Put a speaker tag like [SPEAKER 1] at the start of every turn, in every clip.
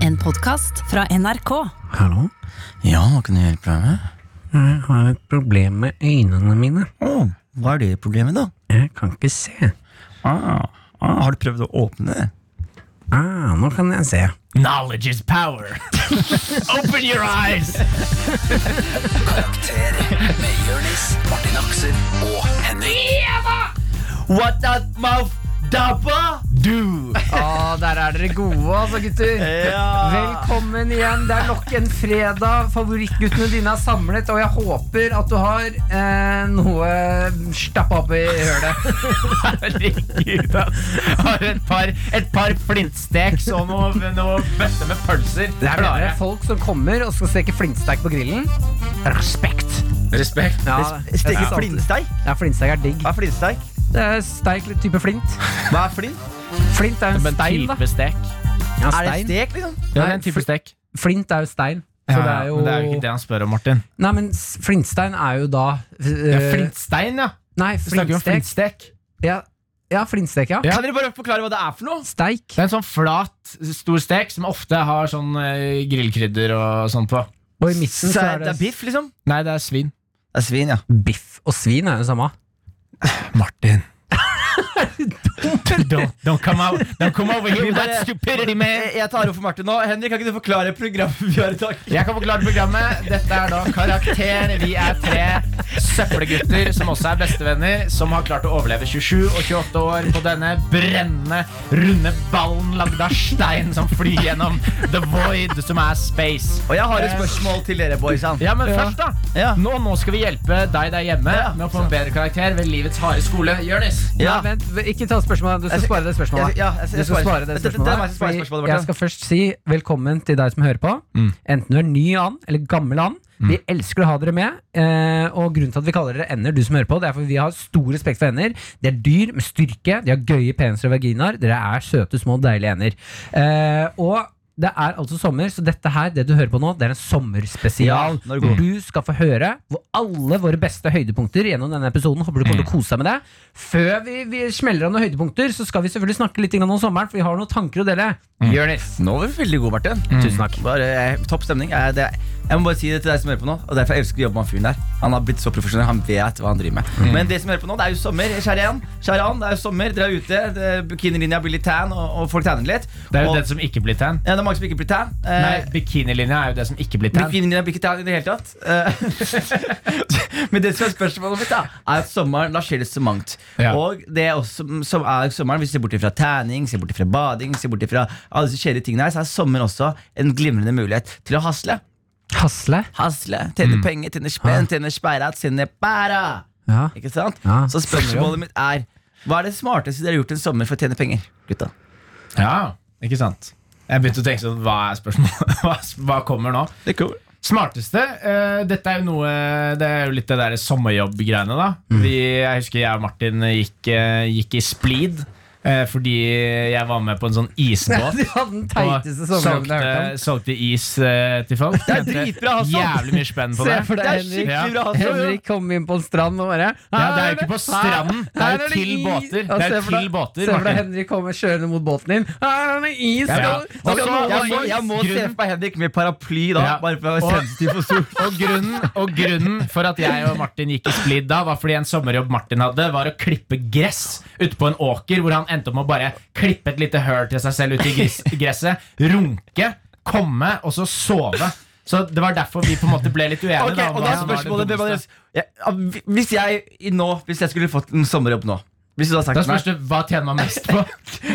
[SPEAKER 1] En podkast fra NRK.
[SPEAKER 2] Hallo?
[SPEAKER 3] Ja, hva kan du hjelpe deg med?
[SPEAKER 2] Jeg har et problem med øynene mine.
[SPEAKER 3] Å, hva er det problemet, da?
[SPEAKER 2] Jeg kan ikke se.
[SPEAKER 3] Ah, ah, har du prøvd å åpne det?
[SPEAKER 2] Ah, nå kan jeg se.
[SPEAKER 4] Knowledge is power. Open your eyes.
[SPEAKER 5] Karakter med Jørnis, Martin Aksel og Henning.
[SPEAKER 4] What that mouth dabba do?
[SPEAKER 6] Ja, der er dere gode, altså, gutter.
[SPEAKER 4] Ja.
[SPEAKER 6] Velkommen igjen. Det er nok en fredag. Favorittguttene dine er samlet, og jeg håper at du har eh, noe stappa opp i hølet.
[SPEAKER 4] Herregud, ass. Har et par, et par flintsteks og noe, noe bøtte med pølser.
[SPEAKER 6] Det er
[SPEAKER 4] Klare.
[SPEAKER 6] dere folk som kommer og skal steke flintsteik på grillen. Respekt.
[SPEAKER 3] Respekt.
[SPEAKER 6] Ja,
[SPEAKER 7] Steke
[SPEAKER 6] ja.
[SPEAKER 7] flintsteik?
[SPEAKER 6] Ja, flintsteik er digg.
[SPEAKER 7] Hva er flintsteik?
[SPEAKER 6] Det er steik litt type flint.
[SPEAKER 7] Hva er flint?
[SPEAKER 6] Flint er jo en stein, da.
[SPEAKER 4] Type stek.
[SPEAKER 6] Ja,
[SPEAKER 7] Er det
[SPEAKER 6] stein.
[SPEAKER 7] stek, liksom?
[SPEAKER 4] Ja, det er en type stek.
[SPEAKER 6] Flint er jo stein. Så
[SPEAKER 4] Ja,
[SPEAKER 6] det er jo
[SPEAKER 4] Men det er jo ikke det han spør om, Martin.
[SPEAKER 6] Nei, men s- flintstein er jo da
[SPEAKER 4] Det er
[SPEAKER 6] eh,
[SPEAKER 4] flintstein, ja.
[SPEAKER 6] Nei,
[SPEAKER 4] Du snakker om
[SPEAKER 6] flintstek.
[SPEAKER 4] flintstek.
[SPEAKER 6] Ja, ja flintstek, ja.
[SPEAKER 4] Kan dere bare forklare hva det er for noe?
[SPEAKER 6] Steik.
[SPEAKER 4] Det er en sånn flat, stor stek som ofte har sånn eh, grillkrydder og sånn på.
[SPEAKER 6] Og i midten så
[SPEAKER 7] Så
[SPEAKER 6] er
[SPEAKER 7] det
[SPEAKER 6] det
[SPEAKER 7] er biff, liksom?
[SPEAKER 4] Nei, det er svin.
[SPEAKER 7] Det er svin, ja.
[SPEAKER 6] biff og svin er jo det samme.
[SPEAKER 4] Martin. don't, don't, come out, don't come over here with that stupidity, man!
[SPEAKER 7] Jeg jeg tar over for Martin nå. Henrik, kan ikke du forklare programmet vi har i dag?
[SPEAKER 4] Jeg kan forklare programmet. Dette er da Karakter. Vi er tre søppelgutter som også er bestevenner, som har klart å overleve 27 og 28 år på denne brennende, runde ballen lagd av stein som flyr gjennom the void, som er space.
[SPEAKER 7] Og jeg har et spørsmål til dere, boysan.
[SPEAKER 4] Ja, men først da
[SPEAKER 7] Ja.
[SPEAKER 4] nå, nå skal vi hjelpe deg der hjemme med å få en bedre karakter ved livets harde skole. Jonis.
[SPEAKER 7] Ja.
[SPEAKER 6] Nei, vent, ikke ta spørsmålet. Du skal
[SPEAKER 7] Jeg skal-
[SPEAKER 6] spare det spørsmålet.
[SPEAKER 7] jeg- ja, jeg- jeg
[SPEAKER 6] du skal
[SPEAKER 7] sparer-
[SPEAKER 6] spare det
[SPEAKER 7] Dette- dette er
[SPEAKER 6] spørsmålet.
[SPEAKER 7] meg som sparer
[SPEAKER 6] Fordi
[SPEAKER 7] spørsmålet, Martin.
[SPEAKER 6] Jeg skal først si velkommen til deg som hører på.
[SPEAKER 7] Mm.
[SPEAKER 6] Enten du er ny an eller gammel an. Vi elsker å ha dere med. eh, Og grunnen til at vi kaller dere ender, du som hører på, det er fordi vi har stor respekt for ender. De er dyr med styrke, de har gøye peniser og vaginaer. Dere er søte, små, deilige ender. Eh, Og det er altså sommer, så dette her, det du hører på nå, det er en sommerspesial.
[SPEAKER 7] Ja, når det
[SPEAKER 6] hvor
[SPEAKER 7] går.
[SPEAKER 6] du skal få høre hvor alle våre beste høydepunkter gjennom denne episoden. Håper du kommer til
[SPEAKER 7] Mm.
[SPEAKER 6] å kose deg med det. Før vi, vi smeller av noen høydepunkter, så skal vi selvfølgelig snakke litt grann om sommeren, for vi har noen tanker å dele.
[SPEAKER 7] Mm.
[SPEAKER 6] Jonis.
[SPEAKER 7] Nå var vi veldig gode, Martin.
[SPEAKER 4] Mm.
[SPEAKER 6] Tusen takk.
[SPEAKER 7] Bare eh, Topp stemning. Jeg, det, jeg må bare si det til deg som hører på nå. Og derfor jeg elsker å jobbe med han fyren der. Han har blitt så profesjonell. Han vet hva han driver med.
[SPEAKER 4] Mm.
[SPEAKER 7] Men det som hører på nå, det er jo sommer. Kjære Jan, kjære Jan, det er jo sommer. Dere er ute. Det- Bikinilinja blir litt tan, og, og folk tanner litt.
[SPEAKER 4] Det er jo
[SPEAKER 7] og,
[SPEAKER 4] det som ikke blir tan.
[SPEAKER 7] ja, det er mange som ikke blir tan. Eh,
[SPEAKER 4] Nei, Bikinilinja er jo det som ikke blir tan.
[SPEAKER 7] Bikinilinja blir ikke tan i det hele tatt. Eh, Men det som er spørsmålet mitt, da er at sommeren da skjer det så mangt.
[SPEAKER 4] Ja.
[SPEAKER 7] Og det er også, mm, som er sommeren, hvis vi ser bort fra tanning, ser bort fra bading, ser bort fra alle disse kjedelige tingene her, så er sommer også en glimrende mulighet til å hasle.
[SPEAKER 6] Hasle.
[SPEAKER 7] Hasle, tjene
[SPEAKER 4] Mm.
[SPEAKER 7] penger, tjene spenn, tjene speirat, tjene bæra.
[SPEAKER 6] Ja.
[SPEAKER 7] Ikke sant?
[SPEAKER 6] Ja,
[SPEAKER 7] Så spørsmålet mitt er hva er det smarteste dere har gjort en sommer for å tjene penger? gutta?
[SPEAKER 4] Ja, ikke sant Jeg begynte å tenke sånn, hva er spørsmålet? Hva, hva kommer nå?
[SPEAKER 7] Det er cool.
[SPEAKER 4] Smarteste, eh, dette er jo noe Det er jo litt det der sommerjobb-greiene da
[SPEAKER 6] Mm.
[SPEAKER 4] Vi, Jeg husker jeg og Martin gikk, eh, gikk i splid eh, Fordi jeg var med på en sånn isbåt
[SPEAKER 6] Du hadde den
[SPEAKER 4] og
[SPEAKER 6] teiteste sommeren jeg har
[SPEAKER 4] solgte,
[SPEAKER 6] hørt om.
[SPEAKER 4] solgte is eh, til folk Det
[SPEAKER 7] er dritbra, altså.
[SPEAKER 4] Jævlig mye spenn på
[SPEAKER 6] Se
[SPEAKER 4] det
[SPEAKER 6] for deg,
[SPEAKER 7] Det er
[SPEAKER 6] Henrik.
[SPEAKER 7] skikkelig
[SPEAKER 4] Ja.
[SPEAKER 7] bra. altså.
[SPEAKER 6] Henrik kom inn på en strand og bare
[SPEAKER 4] ja, det er jo ikke på stranden Det
[SPEAKER 6] Her
[SPEAKER 4] er jo til
[SPEAKER 6] is.
[SPEAKER 4] båter
[SPEAKER 6] Og
[SPEAKER 4] Det er
[SPEAKER 6] se
[SPEAKER 4] jo
[SPEAKER 6] for deg-
[SPEAKER 4] til båter,
[SPEAKER 6] Se for deg
[SPEAKER 4] Martin
[SPEAKER 6] Henrik kommer kjørende mot båten din. Her er det is!
[SPEAKER 4] Ja.
[SPEAKER 6] skal- skal
[SPEAKER 4] Og så-
[SPEAKER 6] noen ha
[SPEAKER 7] Jeg må,
[SPEAKER 6] is?
[SPEAKER 7] jeg må se for meg Henrik med paraply da.
[SPEAKER 4] Ja.
[SPEAKER 7] Bare for å
[SPEAKER 4] Og-
[SPEAKER 7] være sensitiv for sol.
[SPEAKER 4] Og grunnen, og grunnen for at jeg og Martin gikk i splid da, var fordi en sommerjobb Martin hadde, var å klippe gress ute på en åker, hvor han endte opp med å bare klippe et lite høl til seg selv ute i gris- gresset, runke, komme, og så sove. Så det var derfor vi på en måte ble litt uenige.
[SPEAKER 7] Ok,
[SPEAKER 4] da, om
[SPEAKER 7] og
[SPEAKER 4] hva
[SPEAKER 7] da er
[SPEAKER 4] som var det
[SPEAKER 7] spørsmålet hvem av
[SPEAKER 4] dummeste.
[SPEAKER 7] dere- Ja, ah, hvi- Hvis jeg i nå Hvis jeg skulle fått en sommerjobb nå Hvis du hadde sagt
[SPEAKER 4] Da
[SPEAKER 7] til meg
[SPEAKER 4] spørs det hva tjener man mest på.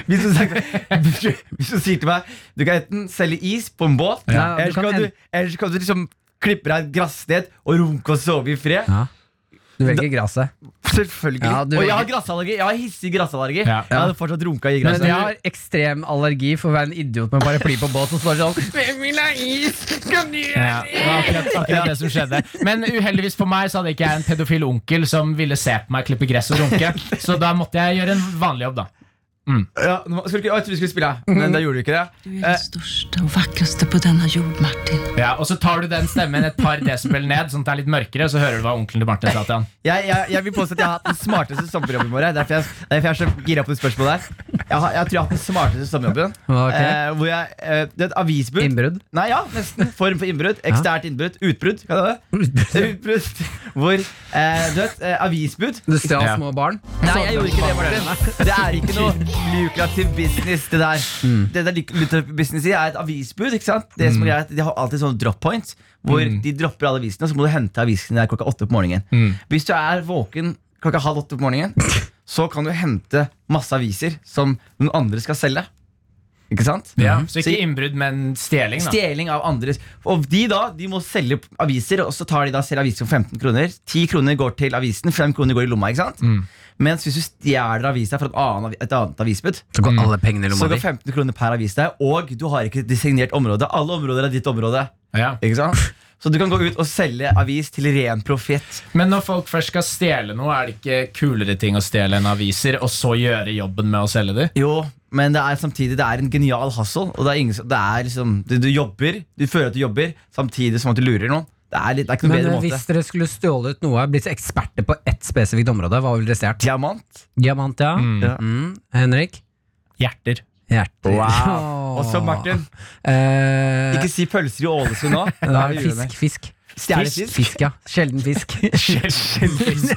[SPEAKER 7] Hvis du, hadde sagt, hvis du- hvis du sier til meg Du kan enten selge is på en båt
[SPEAKER 6] Ja.
[SPEAKER 7] Eller
[SPEAKER 6] Ja,
[SPEAKER 7] så
[SPEAKER 6] du kan
[SPEAKER 7] kan du,
[SPEAKER 6] en-
[SPEAKER 7] eller så kan du liksom klippe deg et grassted Og runke og sove i fred
[SPEAKER 6] Ja. Du velger gresset.
[SPEAKER 7] Selvfølgelig
[SPEAKER 6] Ja, du-
[SPEAKER 7] Og jeg har grassallergi Jeg har hissig grassallergi
[SPEAKER 4] Ja.
[SPEAKER 7] Jeg hadde fortsatt runka i
[SPEAKER 6] Men
[SPEAKER 7] gresset
[SPEAKER 6] jeg har ekstrem allergi for å være en idiot med paraply på båt som står sånn Hvem vil ha is? Kan du gjøre
[SPEAKER 4] Ja, det var akkurat, akkurat det som skjedde. Men uheldigvis for meg så hadde ikke jeg en pedofil onkel som ville se på meg klippe gress og runke, så da måtte jeg gjøre en vanlig jobb, da.
[SPEAKER 7] Ja, nå, skulle ikke, å, jeg trodde vi skulle spille, men da gjorde du ikke det.
[SPEAKER 1] Du
[SPEAKER 7] Eh,
[SPEAKER 1] er den største og vakreste på denne jord, Martin.
[SPEAKER 4] Ja, og så tar du den stemmen et par desibel ned, sånn at det er litt mørkere, så hører du hva onkelen til Martin sa til han.
[SPEAKER 7] Jeg, jeg, jeg vil påstå at jeg har hatt den smarteste sommerjobben vår. Derfor jeg, derfor jeg er så gira på det spørsmålet der. Jeg, har, jeg tror jeg har hatt den smarteste sommerjobben.
[SPEAKER 6] Ok.
[SPEAKER 7] Eh, hvor jeg, eh, du vet, avisbud
[SPEAKER 6] Innbrudd.
[SPEAKER 7] Nei, ja, nesten. Form for innbrudd. Eksternt innbrudd. Utbrudd, kan det være? Utbrudd. Hvor eh, Du vet, eh, avisbud
[SPEAKER 6] Du stjal
[SPEAKER 4] Ja.
[SPEAKER 6] små barn.
[SPEAKER 7] Nei, jeg gjorde ikke det, Martin. Det er ikke noe lukrativ business, det der.
[SPEAKER 6] Mm.
[SPEAKER 7] Det der luk- lukrativ business i er et avisbud, ikke sant? Det som er greit, De har alltid sånne drop points, hvor
[SPEAKER 6] Mm.
[SPEAKER 7] de dropper alle avisene, og så må du hente avisen der klokka åtte på morgenen.
[SPEAKER 4] Mm.
[SPEAKER 7] Hvis du er våken klokka halv åtte på morgenen, så kan du hente masse aviser som noen andre skal selge. Ikke sant?
[SPEAKER 4] Ja, så ikke
[SPEAKER 7] Så-
[SPEAKER 4] innbrudd, men stjeling, da.
[SPEAKER 7] Stjeling av andres. Og de da, de må selge aviser, og så tar de da selv aviser for 15 kroner. 10 kroner går til avisen, 5 kroner går i lomma. ikke sant? Mens hvis du stjeler avisa fra et annet, avi- et annet avisbud,
[SPEAKER 8] Så går alle pengene i
[SPEAKER 7] så
[SPEAKER 8] lomma
[SPEAKER 7] går
[SPEAKER 8] di.
[SPEAKER 7] 15 kroner per avis der, og du har ikke designert område. Alle områder er ditt område.
[SPEAKER 4] Ja.
[SPEAKER 7] ikke sant? Så du kan gå ut og selge avis til ren profitt.
[SPEAKER 4] Men når folk først skal stjele noe, er det ikke kulere ting å stjele enn aviser, og så gjøre jobben med å selge de?
[SPEAKER 7] Jo, men det er samtidig det er en genial hustle. Og det er ingen, som- det er liksom, du, du jobber, du føler at du jobber, samtidig som at du lurer noen. Det er, litt, det er ikke noe
[SPEAKER 6] Men
[SPEAKER 7] bedre
[SPEAKER 6] eh,
[SPEAKER 7] måte.
[SPEAKER 6] hvis dere skulle stjålet noe, blitt eksperter på ett spesifikt område, hva ville dere stjålet?
[SPEAKER 7] Diamant.
[SPEAKER 6] Diamant, ja.
[SPEAKER 7] Ja.
[SPEAKER 6] Mm. Henrik?
[SPEAKER 4] Hjerter.
[SPEAKER 6] Hjerter.
[SPEAKER 7] Wow. Og så Martin.
[SPEAKER 6] Eh,
[SPEAKER 7] Ikke si pølser i Ålesund nå.
[SPEAKER 6] nei, fisk, fisk.
[SPEAKER 7] Stjernefisk.
[SPEAKER 6] Fisk, ja. Sjelden fisk.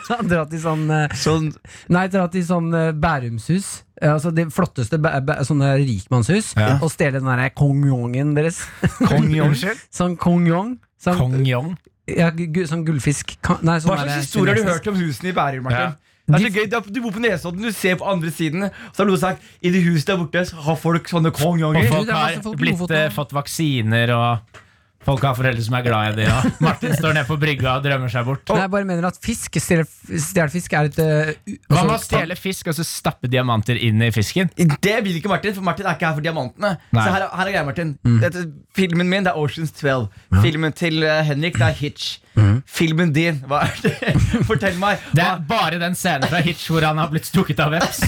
[SPEAKER 6] Ja, dra til sånn eh,
[SPEAKER 7] Sånn,
[SPEAKER 6] Nei, dra til sånn eh, Bærumshus. Eh, Altså de flotteste bæ bæ sånne rikmannshus. Og stjele den derre kongongen deres.
[SPEAKER 4] Kong Unnskyld?
[SPEAKER 6] Sånn kongjong. Sånn,
[SPEAKER 4] Kong Yong.
[SPEAKER 6] ja, gu- gu- sånn gullfisk. Ka- Nei, sånn
[SPEAKER 7] hva slags
[SPEAKER 6] derre
[SPEAKER 7] historie har du
[SPEAKER 6] kinesisk.
[SPEAKER 7] hørt om husene i Bærum, Martin? Det er så gøy, Du er- Du bor på Nesodden, du ser på andre siden. Så har noen sagt i det huset der borte så har folk sånne
[SPEAKER 4] Og
[SPEAKER 7] kongonger.
[SPEAKER 4] folk
[SPEAKER 6] det er
[SPEAKER 4] har
[SPEAKER 6] masse folk på
[SPEAKER 4] blitt,
[SPEAKER 6] Lofoten.
[SPEAKER 4] eh, fått vaksiner, og folk har foreldre som er glad i det. Og Martin står nede på brygga og drømmer seg bort.
[SPEAKER 6] Nei, jeg bare mener at fisk Stjelfisk er et eh, u-
[SPEAKER 4] Hva med å
[SPEAKER 6] altså,
[SPEAKER 4] stjele fisk og så stappe diamanter inn i fisken?
[SPEAKER 7] Det vil ikke Martin, for Martin er ikke her for diamantene.
[SPEAKER 4] Nei.
[SPEAKER 7] Så her, er- her er greia, Martin. Dette, filmen min det er Oceans 12. Filmen til eh, Henrik det er Hitch. Filmen din, hva er det? Fortell meg.
[SPEAKER 4] Det
[SPEAKER 7] Hva,
[SPEAKER 4] er bare den scenen fra Hitch hvor han har blitt stukket av veps.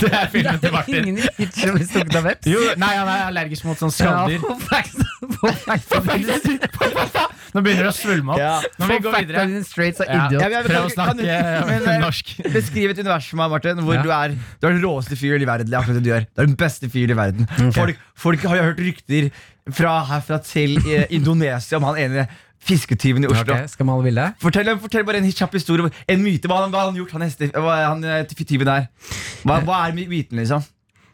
[SPEAKER 4] Det er filmen til Martin.
[SPEAKER 6] Ingen i Hitch som blir stukket av veps.
[SPEAKER 4] Jo, nei, han er allergisk mot sånn
[SPEAKER 6] Ja,
[SPEAKER 4] skalldyr.
[SPEAKER 6] for fact- for fact of the-
[SPEAKER 4] Nå begynner det å svulme opp.
[SPEAKER 7] Ja.
[SPEAKER 4] Nå må vi
[SPEAKER 6] for
[SPEAKER 4] gå
[SPEAKER 6] fact
[SPEAKER 4] videre.
[SPEAKER 6] of the Straits er
[SPEAKER 4] Ja.
[SPEAKER 6] idiot.
[SPEAKER 7] Ja, men jeg-
[SPEAKER 4] Prøv å
[SPEAKER 7] kan du-
[SPEAKER 4] snakke
[SPEAKER 7] men, eh,
[SPEAKER 4] norsk.
[SPEAKER 7] Beskriv et univers for meg, Martin, hvor
[SPEAKER 6] Ja.
[SPEAKER 7] du er Du er den råeste fyren i verden. Det er akkurat det du gjør. Du er den beste fyren i verden. Folk, folk har jo hørt rykter fra herfra til eh, Indonesia om han ene fisketyven i Oslo.
[SPEAKER 6] Ok, skal male bildet?
[SPEAKER 7] Fortell, fortell bare en kjapp historie. En myte. Hva han, hva han gjort, han, heste, hva, han eh, tyven der. Hva, hva er my- myten, liksom?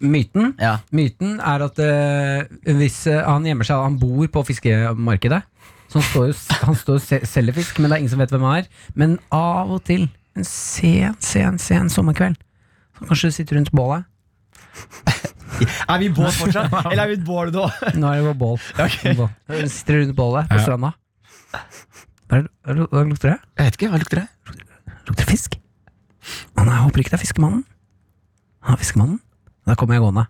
[SPEAKER 6] Myten
[SPEAKER 7] Ja.
[SPEAKER 6] Myten er at eh, hvis eh, han gjemmer seg Han bor på fiskemarkedet. Så han står jo han står og se- selger fisk, men det er ingen som vet hvem han er. Men av og til, en sen, sen, sen sommerkveld, så kanskje du sitter rundt bålet.
[SPEAKER 7] Er vi i båt fortsatt? Eller er vi i et bål nå?
[SPEAKER 6] Nå er det bare bål. bål. Du sitter rundt bålet på stranda. Hva er- hva er- hva lukter det?
[SPEAKER 7] Jeg vet ikke. Hva lukter det?
[SPEAKER 6] Lukter det fisk? Å nei, jeg håper ikke det er fiskemannen. Ja, fiskemannen. Da kommer jeg gående.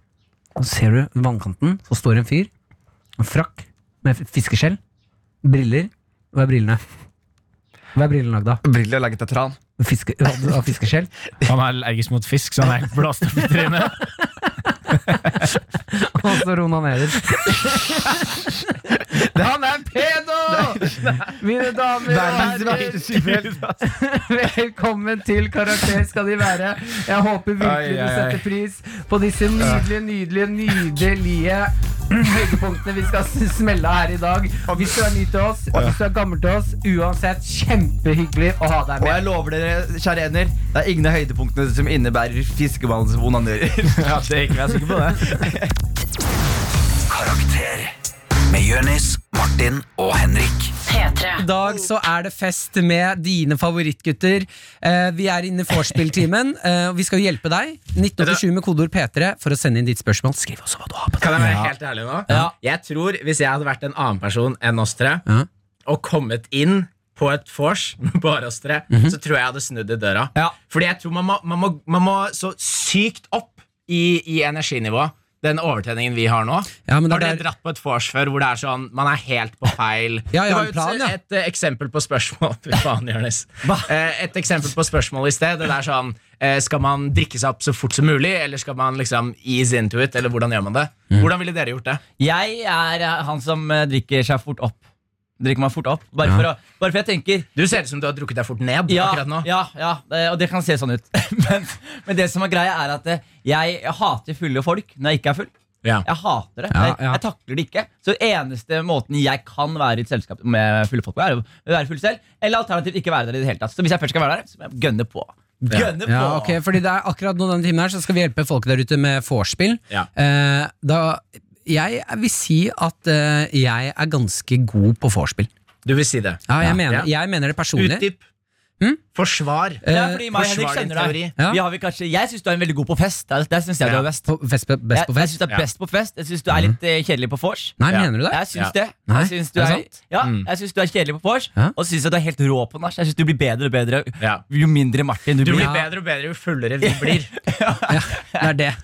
[SPEAKER 6] Og så ser du ved vannkanten, så står det en fyr. En frakk med f- fiskeskjell. Briller. Hva er brillene? Hva er brillene lagd av?
[SPEAKER 7] Briller er laget av tran.
[SPEAKER 6] Fiske, av fiskeskjell?
[SPEAKER 4] Han er allergisk mot fisk, så han er blåst opp i trynet.
[SPEAKER 6] Og så Rona Neder.
[SPEAKER 7] Han er pedo!
[SPEAKER 6] Mine damer
[SPEAKER 7] Verdens
[SPEAKER 6] og herrer,
[SPEAKER 7] verste superhelt.
[SPEAKER 6] velkommen til Karakter skal de være. Jeg håper
[SPEAKER 7] Ai,
[SPEAKER 6] virkelig du
[SPEAKER 7] ai, ai.
[SPEAKER 6] setter pris på disse nydelige, nydelige, nydelige høydepunktene vi skal s- smelle av her i dag. Hvis du er ny til oss, og hvis du er gammel til oss, uansett kjempehyggelig å ha deg
[SPEAKER 7] Og
[SPEAKER 6] med.
[SPEAKER 7] jeg lover dere, kjære ender, det er ingen av høydepunktene som innebærer fiskemannens onanerer. ja, det er ikke jeg sikker på det.
[SPEAKER 9] Karakter Med Jønis, Martin og Henrik
[SPEAKER 10] P3.
[SPEAKER 11] I dag så er det fest med dine favorittgutter. Eh, vi er inne i vorspiel-timen, eh, og vi skal jo hjelpe deg. 1987 med kodeord P3 for å sende inn ditt spørsmål. Skriv også hva du har på deg.
[SPEAKER 12] Kan jeg være helt ærlig nå? Jeg tror Hvis jeg hadde vært en annen person enn oss tre, og kommet inn på et vors med bare oss tre,
[SPEAKER 6] Mhm.
[SPEAKER 12] så tror jeg jeg hadde snudd i døra.
[SPEAKER 11] Ja.
[SPEAKER 12] Fordi jeg tror man må, man må, man må så sykt opp i, i energinivået
[SPEAKER 4] den overtenningen vi har nå.
[SPEAKER 6] Ja, men det
[SPEAKER 4] har dere
[SPEAKER 6] er-
[SPEAKER 4] dratt på et vors før hvor det er sånn man er helt på feil
[SPEAKER 6] Ja, jeg har
[SPEAKER 4] Det
[SPEAKER 6] en
[SPEAKER 4] var jo
[SPEAKER 6] plan,
[SPEAKER 4] et,
[SPEAKER 6] ja.
[SPEAKER 4] et, eh, eksempel på spørsmål Fy faen, Jonis. Eh, Et eksempel på spørsmål i sted. Det er sånn eh, Skal man drikke seg opp så fort som mulig, eller skal man liksom ease into it? Eller hvordan gjør man det?
[SPEAKER 6] Mm.
[SPEAKER 4] Hvordan ville dere gjort det?
[SPEAKER 7] Jeg er eh, han som eh, drikker seg fort opp. Drikker meg fort opp. Bare, for, å, bare for jeg tenker
[SPEAKER 4] Du ser ut som du har drukket deg fort ned
[SPEAKER 7] ja,
[SPEAKER 4] akkurat nå.
[SPEAKER 7] ja, ja, eh, og det kan se sånn ut. men, men det som er greia, er at eh, jeg, jeg hater fulle folk når jeg ikke er full.
[SPEAKER 4] Ja.
[SPEAKER 7] Jeg hater det.
[SPEAKER 13] Ja,
[SPEAKER 7] jeg,
[SPEAKER 13] ja.
[SPEAKER 7] jeg takler det ikke. Så eneste måten jeg kan være i et selskap med fulle folk, på, er å være full selv. Eller alternativt ikke være der i det hele tatt. Så hvis jeg først skal være der, så må jeg gønne på. Gønne på!
[SPEAKER 6] Ja, ok, fordi det er akkurat nå denne timen her Så skal vi hjelpe folk der ute med vorspiel
[SPEAKER 4] Ja.
[SPEAKER 6] eh, Da Jeg vil si at eh, jeg er ganske god på vorspiel
[SPEAKER 4] Du vil si det.
[SPEAKER 6] ja, jeg, mener,
[SPEAKER 4] Ja.
[SPEAKER 6] jeg mener det personlig Hm?
[SPEAKER 4] Utdyp. Forsvar.
[SPEAKER 7] Det er fordi meg og Henrik
[SPEAKER 4] forsvar din
[SPEAKER 7] kjenner
[SPEAKER 4] teori.
[SPEAKER 7] deg.
[SPEAKER 6] Ja.
[SPEAKER 7] Vi har vel kanskje, jeg syns du er en veldig god på fest. Der, der synes jeg
[SPEAKER 4] Ja.
[SPEAKER 7] du er best.
[SPEAKER 6] Eh, På- Best, på- best på
[SPEAKER 7] Jeg, jeg
[SPEAKER 6] fest Mm.
[SPEAKER 7] syns du er
[SPEAKER 4] Ja.
[SPEAKER 7] best på fest. Jeg syns du er litt eh, kjedelig på vors.
[SPEAKER 6] Nei,
[SPEAKER 4] Ja.
[SPEAKER 6] mener du det?
[SPEAKER 7] Jeg syns
[SPEAKER 4] Ja.
[SPEAKER 7] det.
[SPEAKER 6] Nei,
[SPEAKER 7] Jeg syns du
[SPEAKER 6] er
[SPEAKER 7] er,
[SPEAKER 6] det Mm.
[SPEAKER 7] ja, jeg syns du er kjedelig på vors,
[SPEAKER 6] Ja.
[SPEAKER 7] og så syns jeg du er helt rå på nach. Jeg syns du blir bedre og bedre
[SPEAKER 4] Ja.
[SPEAKER 7] jo mindre Martin du,
[SPEAKER 4] Du
[SPEAKER 7] blir.
[SPEAKER 4] blir bedre og bedre jo fullere vi blir.
[SPEAKER 6] Ja, det er det.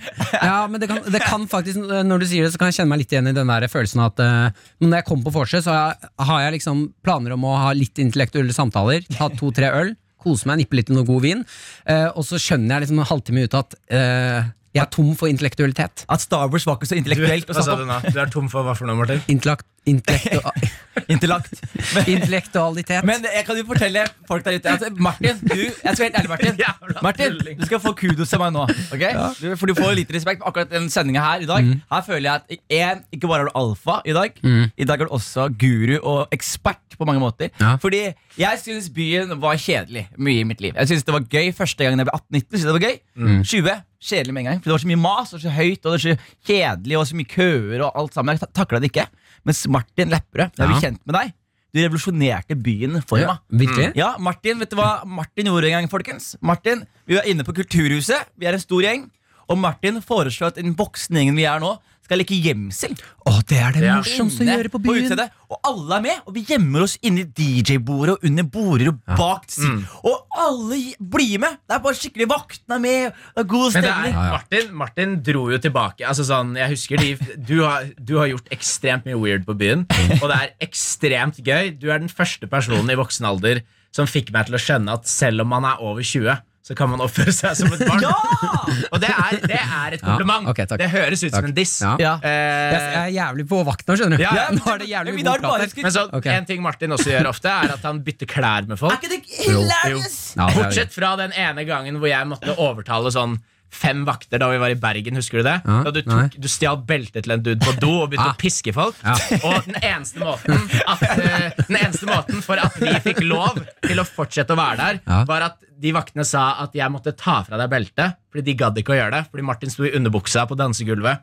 [SPEAKER 6] Ja, men det kan, det kan faktisk Når du sier det, så kan jeg kjenne meg litt igjen i den der følelsen at eh, når jeg kommer på vorset, så har jeg- har jeg liksom planer om å ha litt intellektuelle samtaler, ta to-tre øl, kose meg, nippe litt i noe god vin, eh, og så skjønner jeg liksom en halvtime ut at eh, jeg er tom for intellektualitet.
[SPEAKER 7] At Star Wars var ikke så
[SPEAKER 4] Du,
[SPEAKER 7] intellektuelt og sånn.
[SPEAKER 4] hva sa
[SPEAKER 7] satt
[SPEAKER 4] du nå? Du er tom for hva for noe, Martin?
[SPEAKER 6] Intellekt, intellektu,
[SPEAKER 7] opp intellekt. Men,
[SPEAKER 6] intellektualitet.
[SPEAKER 7] men jeg kan jo fortelle folk der ute at Martin, du Jeg skal være helt ærlig, Martin.
[SPEAKER 4] Jævla
[SPEAKER 7] Martin,
[SPEAKER 4] tulling.
[SPEAKER 7] Du skal få kudos av meg nå. ok? Du, for du får litt respekt på akkurat den sendinga her i dag.
[SPEAKER 4] Mm.
[SPEAKER 7] Her føler jeg at en, ikke bare er du alfa i dag, i dag er du også guru og ekspert på mange måter.
[SPEAKER 6] Ja.
[SPEAKER 7] Fordi jeg syns byen var kjedelig mye i mitt liv. Jeg synes Det var gøy første gangen jeg ble 18-19. synes jeg det var gøy
[SPEAKER 4] Mm.
[SPEAKER 7] 20 Kjedelig med en gang. For det var så mye mas og så høyt og det var så kjedelig og så mye køer og alt sammen. Jeg ta- taklet det ikke. Mens Martin Lepperød, jeg er jo kjent med deg. Du revolusjonerte byen for
[SPEAKER 6] Ja,
[SPEAKER 7] meg.
[SPEAKER 6] virkelig?
[SPEAKER 7] Mm, Ja, Martin, vet du hva Martin gjorde en gang, folkens? Martin, Vi var inne på Kulturhuset. Vi er en stor gjeng. Og Martin foreslår at den voksne gjengen vi er nå, skal leke gjemsel.
[SPEAKER 6] Å, det er det
[SPEAKER 4] Ja.
[SPEAKER 6] morsomste å
[SPEAKER 7] Inne
[SPEAKER 6] gjøre på byen!
[SPEAKER 7] utestedet, og alle er med, og vi gjemmer oss inni DJ-bordet og under border og bak si-
[SPEAKER 6] Mm.
[SPEAKER 7] Og alle gi- blir med! Det er bare skikkelig Vaktene er med, det er god
[SPEAKER 4] Men det
[SPEAKER 7] stemning.
[SPEAKER 4] er, Martin, Martin dro jo tilbake. Altså sånn, jeg husker de, du, har, du har gjort ekstremt mye weird på byen, og det er ekstremt gøy. Du er den første personen i voksen alder som fikk meg til å skjønne at selv om man er over 20, så kan man oppføre seg som et barn. Og det er, det er et kompliment.
[SPEAKER 6] Ja, ok, takk.
[SPEAKER 4] det høres ut som
[SPEAKER 6] Takk.
[SPEAKER 4] en diss.
[SPEAKER 6] Ja.
[SPEAKER 7] Ja.
[SPEAKER 6] Jeg
[SPEAKER 4] Eh,
[SPEAKER 6] er jævlig på vakt nå, skjønner du.
[SPEAKER 4] Ja,
[SPEAKER 6] nå er det jævlig
[SPEAKER 7] Men i
[SPEAKER 6] god
[SPEAKER 7] dag
[SPEAKER 6] prat
[SPEAKER 7] bare
[SPEAKER 6] her.
[SPEAKER 7] skri-
[SPEAKER 4] men så,
[SPEAKER 6] Ok.
[SPEAKER 4] en ting Martin også gjør ofte, er at han bytter klær med folk.
[SPEAKER 7] Er ikke det hilarious?
[SPEAKER 6] Ja, det er det.
[SPEAKER 4] Bortsett fra den ene gangen hvor jeg måtte overtale sånn fem vakter da vi var i Bergen. Husker du det?
[SPEAKER 13] Ja,
[SPEAKER 4] da du,
[SPEAKER 13] nei.
[SPEAKER 4] tok, du stjal beltet til en dude på do og begynte å piske folk. Og den eneste, måten at, eh, den eneste måten for at vi fikk lov til å fortsette å være der,
[SPEAKER 13] Ja.
[SPEAKER 4] var at de vaktene sa at jeg måtte ta fra deg beltet, fordi de gadd ikke å gjøre det. Fordi Martin sto i underbuksa på dansegulvet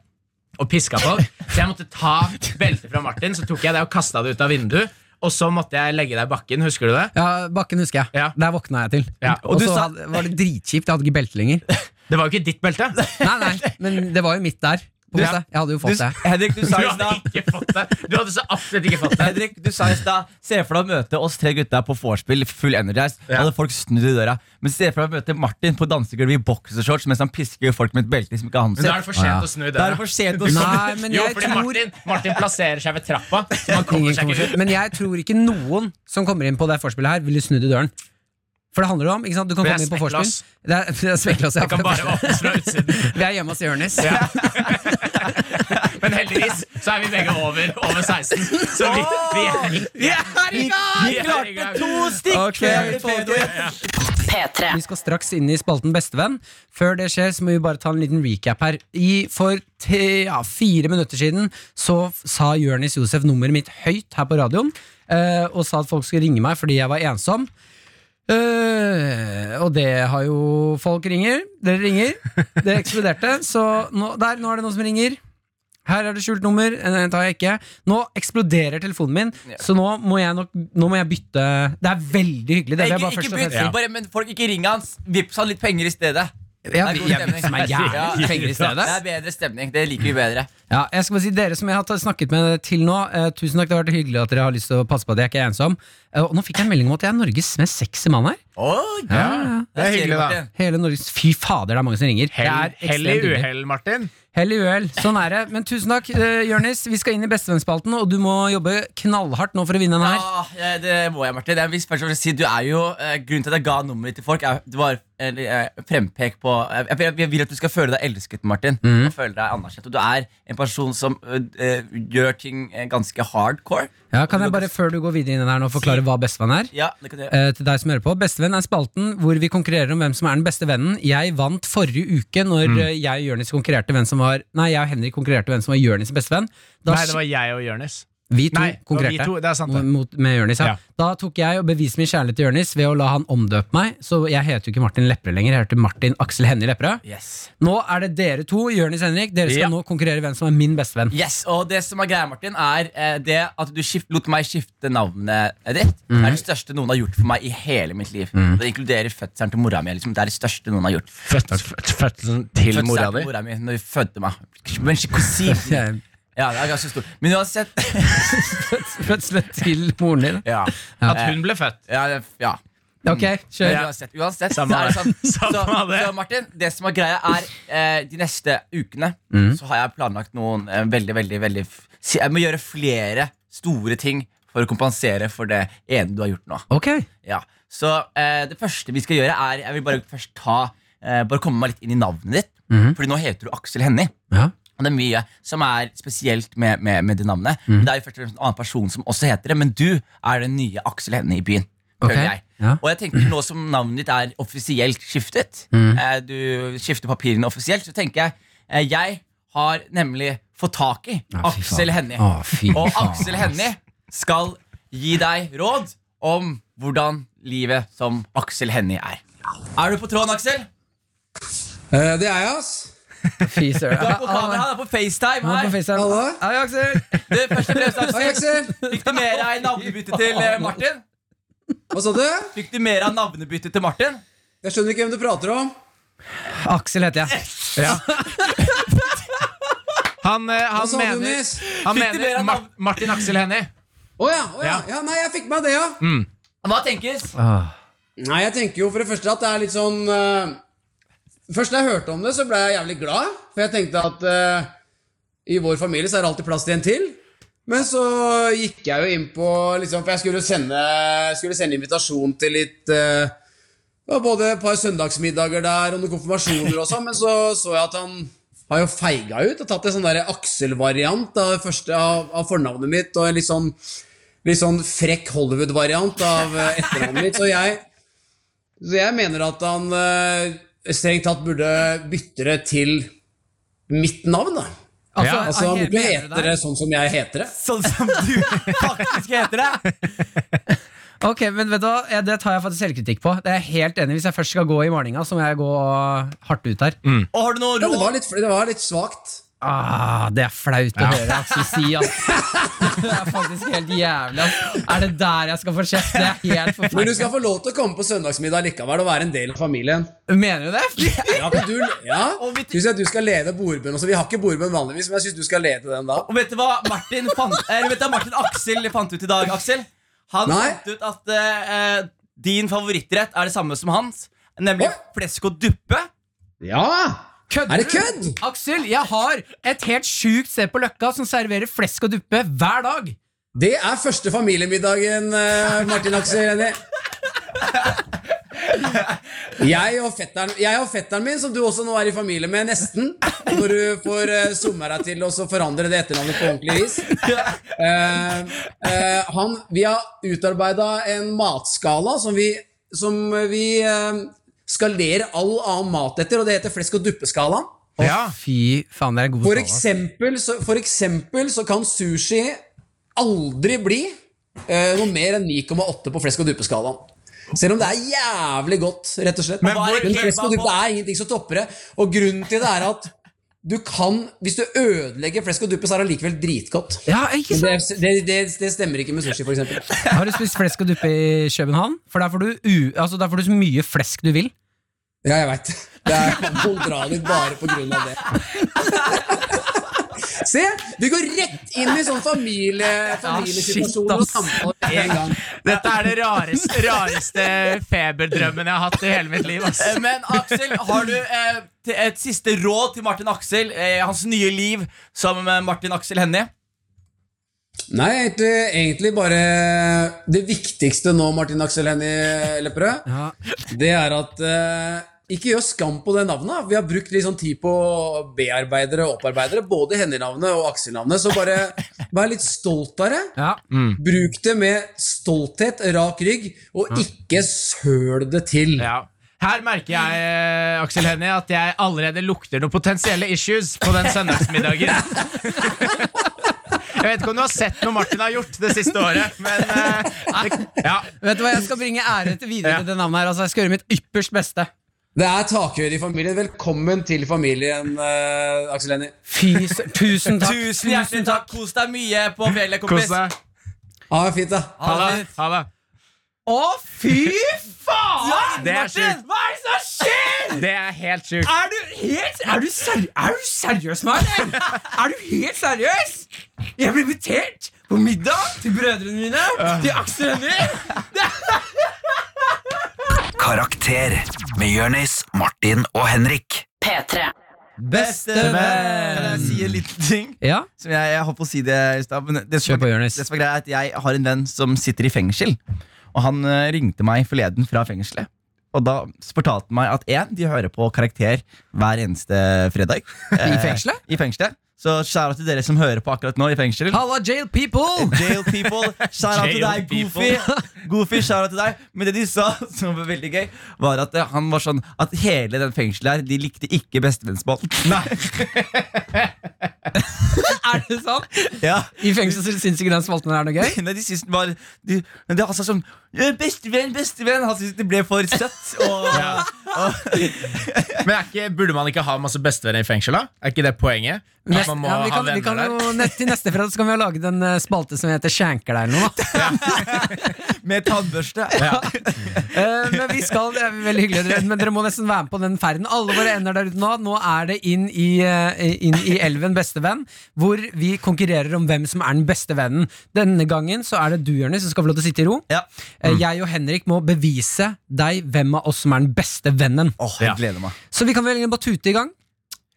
[SPEAKER 4] og piska folk. Så jeg måtte ta beltet fra Martin, så tok jeg det og kasta det ut av vinduet. Og så måtte jeg legge deg i bakken. Husker du det?
[SPEAKER 6] Ja, Bakken husker jeg.
[SPEAKER 4] Ja.
[SPEAKER 6] Der våkna jeg til.
[SPEAKER 4] Ja,
[SPEAKER 6] Og,
[SPEAKER 4] og
[SPEAKER 7] du
[SPEAKER 6] så
[SPEAKER 7] sa-
[SPEAKER 6] hadde- var det dritkjipt. Jeg hadde ikke belte lenger.
[SPEAKER 4] Det var jo ikke ditt belte.
[SPEAKER 6] Nei, nei, men det var jo mitt der. På en
[SPEAKER 7] Du-
[SPEAKER 6] måte. Jeg hadde jo
[SPEAKER 7] Du,
[SPEAKER 6] fått det.
[SPEAKER 7] Henrik, du
[SPEAKER 4] Du
[SPEAKER 7] sa i
[SPEAKER 4] hadde
[SPEAKER 7] stad
[SPEAKER 4] ikke fått det. Du hadde så absolutt ikke fått det.
[SPEAKER 7] Henrik, du sa i stad Se for deg å møte oss tre gutta på vorspiel full energized. Da hadde folk snudd i døra. Men se for deg å møte Martin på dansegulvet i boksershorts mens han pisker folk med et belte som ikke er hans.
[SPEAKER 4] Men da er det for sent å snu
[SPEAKER 7] Da er
[SPEAKER 4] døra.
[SPEAKER 7] det for sent å
[SPEAKER 6] Nei, men
[SPEAKER 4] Jo,
[SPEAKER 6] jeg
[SPEAKER 4] fordi
[SPEAKER 6] tror
[SPEAKER 4] Martin, Martin plasserer seg ved trappa. Så man kommer
[SPEAKER 6] Ingen
[SPEAKER 4] seg
[SPEAKER 6] kommer
[SPEAKER 4] ikke
[SPEAKER 6] til-
[SPEAKER 4] ut
[SPEAKER 6] Men jeg tror ikke noen som kommer inn på det forspillet her, ville snudd i døren. For det handler jo om ikke sant? Du kan
[SPEAKER 4] Vi er
[SPEAKER 6] komme inn på
[SPEAKER 4] smekklås.
[SPEAKER 6] forspill. Det er, det er smekklås, ja.
[SPEAKER 4] Det kan bare åpnes fra utsiden.
[SPEAKER 6] Vi er hjemme hos Jonis.
[SPEAKER 4] Men heldigvis så er vi begge over, over 16. Så vi, vi er
[SPEAKER 7] Vi, vi klarte to stikk!
[SPEAKER 6] Ok,
[SPEAKER 7] Det er
[SPEAKER 6] folkens.
[SPEAKER 7] bedre.
[SPEAKER 1] P3.
[SPEAKER 6] Vi skal straks inn i spalten Bestevenn. Før det skjer, så må vi bare ta en liten recap her. I, for te, ja, fire minutter siden så f- sa Jonis Josef nummeret mitt høyt her på radioen, eh, og sa at folk skulle ringe meg fordi jeg var ensom. Eh, og det har jo folk ringer. Dere ringer. Det eksploderte. Så nå, der, nå er det noen som ringer. Her er det skjult nummer. Eh, Det tar jeg ikke. Nå eksploderer telefonen min, så nå må jeg nok Nå må jeg bytte Det er veldig hyggelig. Det vil jeg
[SPEAKER 7] Ikke,
[SPEAKER 6] bare
[SPEAKER 7] ikke
[SPEAKER 6] først og
[SPEAKER 7] bytt,
[SPEAKER 6] fremst si.
[SPEAKER 7] bare, men folk ikke ring hans. Vips han litt penger i stedet.
[SPEAKER 6] Ja,
[SPEAKER 7] Det er god stemning.
[SPEAKER 6] som er jævlig
[SPEAKER 7] Ja.
[SPEAKER 6] penger i stedet.
[SPEAKER 7] Det er bedre stemning. Det liker vi bedre.
[SPEAKER 6] Ja, jeg skal bare si Dere som jeg har ta- snakket med til nå, eh, tusen takk. Det har vært hyggelig at dere har lyst til å passe på at jeg ikke er ensom. Eh, og nå fikk jeg en melding om at jeg er Norges mest sexy mann her.
[SPEAKER 14] Det er hyggelig, da.
[SPEAKER 6] Hele Norges, Fy fader, det er mange som ringer.
[SPEAKER 14] Hell,
[SPEAKER 6] Det
[SPEAKER 14] hell
[SPEAKER 6] er
[SPEAKER 14] i
[SPEAKER 6] ekstremt hyggelig.
[SPEAKER 14] uhell, Martin.
[SPEAKER 6] Hell i uhell. Sånn er det. Men tusen takk, uh, Jørnis. Vi skal inn i Bestevennsspalten, og du må jobbe knallhardt nå for å vinne den her.
[SPEAKER 7] Ja, eh, det må jeg, Martin. Jeg vil først og fremst si, du er jo, eh, grunnen til at jeg ga nummeret ditt til folk, er, det var eller, eh, frempek på jeg, jeg, jeg vil at du skal føle deg elsket, Martin. Og føle deg anerkjent. Og du er en person som eh, eh, gjør ting eh, ganske hardcore.
[SPEAKER 6] Ja, kan jeg bare før du går videre inn i den her nå forklare hva bestevenn er?
[SPEAKER 7] Ja, det kan du gjøre.
[SPEAKER 6] Eh, til deg som hører på Bestevenn er spalten hvor vi konkurrerer om hvem som er den beste vennen. Jeg vant forrige uke
[SPEAKER 4] Mm.
[SPEAKER 6] når eh, jeg og Jørnis konkurrerte hvem som var Nei, jeg og Henrik konkurrerte hvem som var Jørnis' bestevenn. Da
[SPEAKER 4] Nei, det var jeg og Jonis.
[SPEAKER 6] Vi to
[SPEAKER 4] Nei, det var
[SPEAKER 6] konkurrerte
[SPEAKER 4] vi to, det er sant det.
[SPEAKER 6] mot, med Jørnis. Ja.
[SPEAKER 4] Ja.
[SPEAKER 6] Da tok jeg og beviste min kjærlighet til Jørnis ved å la han omdøpe meg. Så jeg heter jo ikke Martin Lepperød lenger, jeg heter Martin Aksel Hennie Lepperød.
[SPEAKER 7] Yes.
[SPEAKER 6] Nå er det dere to, Jørnis Henrik, dere skal
[SPEAKER 4] Ja.
[SPEAKER 6] nå konkurrere hvem som er min bestevenn.
[SPEAKER 7] Yes, og det som er greia, Martin, er eh, det at du skift, lot meg skifte navnet ditt. Det er det største noen har gjort for meg i hele mitt liv. Det inkluderer fødselen til mora mi. Liksom. Det er det største noen har gjort.
[SPEAKER 4] Fødselen til
[SPEAKER 7] Fødselen
[SPEAKER 4] mora di.
[SPEAKER 7] mora mi når hun fødte meg. Men ikke kusinen. Ja, det er ganske stort. Men uansett
[SPEAKER 6] Fødselen til moren din.
[SPEAKER 7] Ja.
[SPEAKER 14] At hun ble født.
[SPEAKER 7] ja, det, ja.
[SPEAKER 6] Ok, kjør.
[SPEAKER 7] Men Uansett, uansett så er det sånn. Så, så Martin, det som er greia, er eh, de neste ukene så har jeg planlagt noen eh, veldig, veldig, veldig f- si- Jeg må gjøre flere store ting for å kompensere for det ene du har gjort nå.
[SPEAKER 6] Ok,
[SPEAKER 7] Ja. Så eh, det første vi skal gjøre, er Jeg vil bare først ta eh, Bare komme meg litt inn i navnet ditt. Fordi nå heter du Aksel Hennie.
[SPEAKER 6] Ja.
[SPEAKER 7] Og det er mye som er spesielt med, med, med det navnet.
[SPEAKER 6] Mm.
[SPEAKER 7] Men Det er jo først og fremst en annen person som også heter det, men du er den nye Aksel Hennie i byen.
[SPEAKER 6] Ok.
[SPEAKER 7] føler Jeg.
[SPEAKER 6] Ja.
[SPEAKER 7] Og jeg tenker nå som navnet ditt er offisielt skiftet,
[SPEAKER 6] Mm.
[SPEAKER 7] eh, du skifter papirene offisielt, så tenker jeg eh, Jeg har nemlig fått tak i
[SPEAKER 6] fy
[SPEAKER 7] Aksel
[SPEAKER 6] faen.
[SPEAKER 7] Hennie.
[SPEAKER 6] Å, fy
[SPEAKER 7] Og
[SPEAKER 6] faen,
[SPEAKER 7] Aksel
[SPEAKER 6] ass.
[SPEAKER 7] Hennie skal gi deg råd om hvordan livet som Aksel Hennie er. Er du på tråden, Aksel?
[SPEAKER 15] det er jeg, ass.
[SPEAKER 6] fy søren.
[SPEAKER 7] Du er på
[SPEAKER 6] ah,
[SPEAKER 7] kamera, han er på FaceTime
[SPEAKER 6] Han er på
[SPEAKER 7] her.
[SPEAKER 6] FaceTime.
[SPEAKER 15] Hallo?
[SPEAKER 6] Hei, Ah, Aksel.
[SPEAKER 7] Du, først og fremst,
[SPEAKER 15] Hei,
[SPEAKER 7] Aksel.
[SPEAKER 15] Aksel.
[SPEAKER 7] Fikk du mer av navnebyttet til eh, Martin?
[SPEAKER 15] Hva sa du?
[SPEAKER 7] Fikk du mer av navnebyttet til Martin?
[SPEAKER 15] Jeg skjønner ikke hvem du prater om.
[SPEAKER 6] Aksel heter jeg.
[SPEAKER 14] Han, eh,
[SPEAKER 15] Hva
[SPEAKER 14] han
[SPEAKER 15] sa du,
[SPEAKER 14] mener,
[SPEAKER 15] Jonis?
[SPEAKER 14] han
[SPEAKER 7] Fikk du mer
[SPEAKER 14] mener
[SPEAKER 7] av
[SPEAKER 14] Ma
[SPEAKER 7] navn-
[SPEAKER 14] Martin Aksel Hennie.
[SPEAKER 15] Å ja, å ja. ja. Nei, jeg fikk med meg det, ja.
[SPEAKER 7] Hva tenkes?
[SPEAKER 15] Nei, jeg tenker jo for det første at det er litt sånn eh, Først da jeg hørte om det, så ble jeg jævlig glad. For jeg tenkte at eh, i vår familie så er det alltid plass til en til. Men så gikk jeg jo inn på liksom, For jeg skulle sende, skulle sende invitasjon til litt eh, det var både et par søndagsmiddager der og noen konfirmasjoner og sånn, men så så jeg at han har jo feiga ut og tatt en sånn der Aksel-variant av, det første- av, av fornavnet mitt og en litt sånn, litt sånn frekk Hollywood-variant av eh, etternavnet mitt. Så jeg, så jeg mener at han eh, strengt tatt burde bytte det til mitt navn, da.
[SPEAKER 6] Altså,
[SPEAKER 15] Altså, han
[SPEAKER 6] ok,
[SPEAKER 15] burde
[SPEAKER 6] mener du
[SPEAKER 15] hete det sånn som jeg heter det.
[SPEAKER 7] Sånn som du faktisk heter det.
[SPEAKER 6] Ok, men vet du hva? Ja, Det tar jeg faktisk selvkritikk på. Det er jeg helt enig i. Hvis jeg først skal gå i malinga, så må jeg gå hardt ut her.
[SPEAKER 15] Mm.
[SPEAKER 7] Og har du noe
[SPEAKER 15] Ja, det
[SPEAKER 7] råd?
[SPEAKER 15] var litt, det var litt svakt.
[SPEAKER 6] Ah, det er flaut å høre Aksel si, ass. Det er faktisk helt jævlig, ass. Er det der jeg skal få kjeft? Det er helt
[SPEAKER 15] Men du
[SPEAKER 6] forferdelig.
[SPEAKER 15] skal få lov til å komme på søndagsmiddag likevel og være en del av familien.
[SPEAKER 6] Mener du det?
[SPEAKER 15] Ja, men du, ja. Synes jeg at du skal lede bordbønn også. Vi har ikke bordbønn vanligvis, men jeg synes du skal lede den da.
[SPEAKER 7] Og vet du hva Martin, fant, eh, vet du hva Martin Aksel fant ut i dag, Aksel? Han
[SPEAKER 15] Nei.
[SPEAKER 7] fant ut at eh, din favorittrett er det samme som hans, nemlig flesk og duppe.
[SPEAKER 15] Ja!
[SPEAKER 6] Kødder
[SPEAKER 15] Er det
[SPEAKER 6] du?
[SPEAKER 15] kødd?
[SPEAKER 6] Aksel, jeg har et helt sjukt sted på Løkka som serverer flesk og duppe hver dag.
[SPEAKER 15] Det er første familiemiddagen, eh, Martin Aksel Hennie. Jeg og, fetteren, jeg og fetteren min, som du også nå er i familie med, nesten. Når du får uh, summa deg til å så forandre det etternavnet på ordentlig vis. Eh, eh, han, vi har utarbeida en matskala som vi, som vi eh, skalerer all annen mat etter, og det heter flesk- og duppeskalaen.
[SPEAKER 6] Fy faen, det er god
[SPEAKER 15] For
[SPEAKER 6] skala, ass.
[SPEAKER 15] eksempel, så, for eksempel så kan sushi aldri bli eh, noe mer enn 9,8 på flesk- og duppeskalaen. Selv om det er jævlig godt, rett og slett. Men,
[SPEAKER 7] hvor-
[SPEAKER 15] flesk og duppe er ingenting som topper det. Og grunnen til det er at du kan, hvis du ødelegger flesk og duppe, så er det allikevel dritgodt.
[SPEAKER 6] Ja, ikke
[SPEAKER 15] Men
[SPEAKER 6] sant?
[SPEAKER 15] Det, det, det, det stemmer ikke med sushi, for eksempel.
[SPEAKER 6] Har du spist flesk og duppe i København? For der får du, u altså, der får du så mye flesk du vil.
[SPEAKER 15] Ja, jeg veit. Det er kontradig bare på grunn av det. Se, du går rett inn i sånn familie, familiesituasjon og samtale med en gang.
[SPEAKER 4] Dette er det rareste, rareste feberdrømmen jeg har hatt i hele mitt liv. Ass.
[SPEAKER 7] Eh, Men Aksel, har du eh, til- et siste råd til Martin Aksel? Eh, hans nye liv sammen med Martin Aksel Hennie?
[SPEAKER 15] Nei, egentlig, egentlig bare Det viktigste nå, Martin Aksel Hennie Lepperød, det er at eh, ikke gjør skam på det navnet. da. Vi har brukt litt sånn tid på bearbeidere og opparbeidere, både Hennie-navnet og Aksel-navnet, så bare vær litt stolt av det.
[SPEAKER 4] Mm.
[SPEAKER 15] Bruk det med stolthet, rak rygg, og ikke søl det til.
[SPEAKER 4] Ja. Her merker jeg eh, Aksel Hennie, at jeg allerede lukter noen potensielle issues på den søndagsmiddagen. Jeg vet ikke om du har sett noe Martin har gjort det siste året, men eh, det, ja.
[SPEAKER 6] Vet du hva, Jeg skal bringe ære til videre til det navnet her. Altså, jeg skal gjøre mitt ypperst beste.
[SPEAKER 15] Det er takhøyde i familien. Velkommen til familien, eh, Aksel Hennie.
[SPEAKER 6] Fy, s- tusen takk.
[SPEAKER 7] Tusen hjertelig takk. Kos deg mye på fjellet,
[SPEAKER 4] Kos
[SPEAKER 7] kompis.
[SPEAKER 4] deg.
[SPEAKER 15] Ha det fint, da.
[SPEAKER 4] Ha det. Ha det.
[SPEAKER 7] Å, fy faen!
[SPEAKER 4] Det er
[SPEAKER 7] Martin,
[SPEAKER 4] sjukt.
[SPEAKER 7] Hva er det som skjer?!
[SPEAKER 4] Det er helt sjukt.
[SPEAKER 7] Er du helt Er du, seri er du seriøs, Martin? Er du helt seriøs? Jeg ble invitert på middag til brødrene mine, til Aksel Hennie.
[SPEAKER 16] Karakter med Jørnis, Martin og Henrik.
[SPEAKER 1] P3.
[SPEAKER 7] Bestevenn! Jeg si en liten ting.
[SPEAKER 6] Ja,
[SPEAKER 7] Som jeg, jeg holdt på å si det i stad. men Det, som
[SPEAKER 6] Kjør på,
[SPEAKER 7] er-
[SPEAKER 6] Jonis.
[SPEAKER 7] det som er greia, er at jeg har en venn som sitter i fengsel. Og han eh, ringte meg forleden fra fengselet. Og da fortalte han meg at én, de hører på Karakter hver eneste fredag.
[SPEAKER 6] I
[SPEAKER 7] Eh,
[SPEAKER 6] fengselet?
[SPEAKER 7] I fengselet. Så skjæra til dere som hører på akkurat nå i fengsel.
[SPEAKER 6] Halla, jail people!
[SPEAKER 7] Jail people, skjæra til
[SPEAKER 4] Jail
[SPEAKER 7] deg, Goofy. Goofy, skjæra til deg. Men det de sa, som var veldig gøy, var at eh, han var sånn at hele den fengselet her, de likte ikke bestevennsbåten.
[SPEAKER 6] Er det sant?
[SPEAKER 7] Ja.
[SPEAKER 6] I fengsel så syns ikke den spalten er noe gøy?
[SPEAKER 7] Nei, de syns den var de, Men det er altså sånn «Ja, Bestevenn, bestevenn! Han syntes det ble for søtt. Og, og,
[SPEAKER 4] Men er ikke, burde man ikke ha masse bestevenner i fengsel, da? Er ikke det poenget? At
[SPEAKER 6] Nest,
[SPEAKER 4] man må
[SPEAKER 6] ja, vi
[SPEAKER 4] ha
[SPEAKER 6] kan, vi
[SPEAKER 4] venner
[SPEAKER 6] kan
[SPEAKER 4] der?
[SPEAKER 6] jo, nett, til neste fredag så kan vi jo lage den eh, spalte som heter Skjenker deg eller noe. da.
[SPEAKER 7] med tannbørste.
[SPEAKER 6] Eh, men vi skal, det er veldig hyggelig dere- Men dere må nesten være med på den ferden. Alle våre ender der ute nå. Nå er det inn i, eh, inn i elven Bestevenn, hvor vi konkurrerer om hvem som er den beste vennen. Denne gangen så er det du, Jørnis, som skal få lov til å sitte i ro.
[SPEAKER 7] Ja.
[SPEAKER 4] Mm.
[SPEAKER 6] Eh, Jeg og Henrik må bevise deg hvem av oss som er den beste vennen.
[SPEAKER 7] Åh, jeg gleder meg.
[SPEAKER 6] Så vi kan vel egentlig bare tute i gang.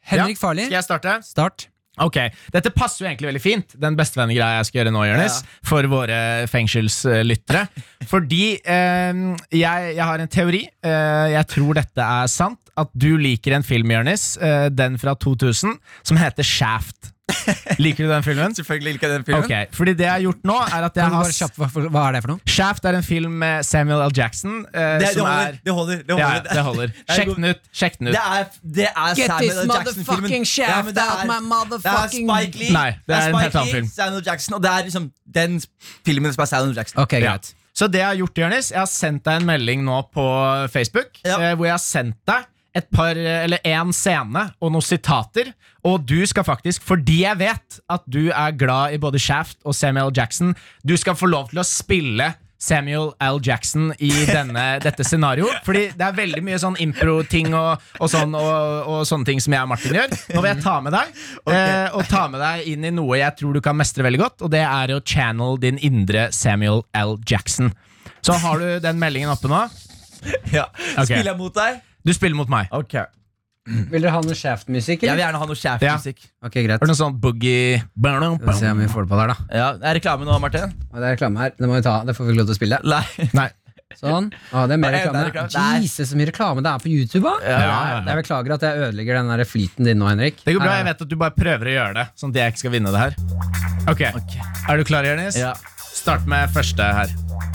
[SPEAKER 6] Henrik
[SPEAKER 4] Ja,
[SPEAKER 6] Farli,
[SPEAKER 4] Skal jeg starte?
[SPEAKER 6] start.
[SPEAKER 4] Ok, Dette passer jo egentlig veldig fint, den bestevenngreia jeg skal gjøre nå, Jonis, for våre fengselslyttere. Fordi eh, jeg, jeg har en teori. Eh, jeg tror dette er sant. At du liker en film, Jonis, eh, den fra 2000, som heter Shaft. Liker du den filmen?
[SPEAKER 7] Selvfølgelig liker jeg den filmen.
[SPEAKER 4] Ok, fordi det jeg har gjort nå, er at
[SPEAKER 6] Kan
[SPEAKER 4] jeg
[SPEAKER 6] du
[SPEAKER 4] har
[SPEAKER 6] bare kjapt, hva, for- hva er det for noe?
[SPEAKER 4] Shaft er en film med Samuel L. Jackson, eh,
[SPEAKER 7] Det, det
[SPEAKER 4] som
[SPEAKER 7] holder.
[SPEAKER 4] er
[SPEAKER 7] Det holder. Det
[SPEAKER 4] ja,
[SPEAKER 7] holder.
[SPEAKER 4] det holder.
[SPEAKER 7] er
[SPEAKER 4] Sjekk
[SPEAKER 7] god-
[SPEAKER 4] den ut. sjekk den ut
[SPEAKER 7] Det er, det er
[SPEAKER 6] Get
[SPEAKER 7] Samuel
[SPEAKER 6] this
[SPEAKER 7] L. Jackson-filmen.
[SPEAKER 6] motherfucking shaft
[SPEAKER 7] men det
[SPEAKER 6] out
[SPEAKER 7] er-
[SPEAKER 6] my motherfucking-
[SPEAKER 7] Det er Spike Lee,
[SPEAKER 4] Nei, det er en
[SPEAKER 7] Spike
[SPEAKER 4] helt annen
[SPEAKER 7] Lee,
[SPEAKER 4] film.
[SPEAKER 7] Samuel Jackson, og det er liksom den filmen som er Samuel L. Jackson.
[SPEAKER 6] Ok,
[SPEAKER 4] Ja.
[SPEAKER 6] greit
[SPEAKER 4] Så det jeg har gjort, Jørnis, jeg har sendt deg en melding nå på Facebook,
[SPEAKER 7] Ja.
[SPEAKER 4] eh, hvor jeg har sendt deg et par, eh, eller en scene og noen sitater, og du skal faktisk, fordi jeg vet at du er glad i både Shaft og Samuel Jackson, du skal få lov til å spille Samuel L. Jackson i denne, dette scenarioet. Fordi det er veldig mye sånn impro-ting og, og, sånn, og, og sånne ting som jeg og Martin gjør. Nå vil jeg ta med deg eh, og ta med deg inn i noe jeg tror du kan mestre veldig godt, og det er å channel din indre Samuel L. Jackson. Så har du den meldingen oppe nå.
[SPEAKER 7] Ja.
[SPEAKER 4] Ok.
[SPEAKER 7] Spiller jeg mot deg?
[SPEAKER 4] Du spiller mot meg.
[SPEAKER 6] Vil dere ha noe Shaft-musikk?
[SPEAKER 7] Jeg
[SPEAKER 6] eller?
[SPEAKER 7] vil gjerne ha noe Shaft-musikk.
[SPEAKER 6] Ok, greit
[SPEAKER 4] Har du noe sånn boogie
[SPEAKER 6] Vi får se om vi får det på der, da.
[SPEAKER 7] Ja. Det er reklame nå, Martin.
[SPEAKER 6] Og det er reklame her. Det må vi ta. Det får vi ikke lov til å spille.
[SPEAKER 7] Nei.
[SPEAKER 4] Nei.
[SPEAKER 6] Sånn. Å, det er mer
[SPEAKER 7] Nei, det er
[SPEAKER 6] reklame.
[SPEAKER 7] reklame. Nei.
[SPEAKER 6] Jesus, så mye reklame det er på YouTube, da!
[SPEAKER 4] ja, ja.
[SPEAKER 6] Jeg beklager at jeg ødelegger den der flyten din nå, Henrik.
[SPEAKER 4] Det går bra.
[SPEAKER 6] Nei,
[SPEAKER 4] Jeg vet at du bare prøver å gjøre det, sånn at jeg ikke skal vinne det her. Ok, Er du klar, Jonis?
[SPEAKER 7] Ja.
[SPEAKER 4] Start med første her.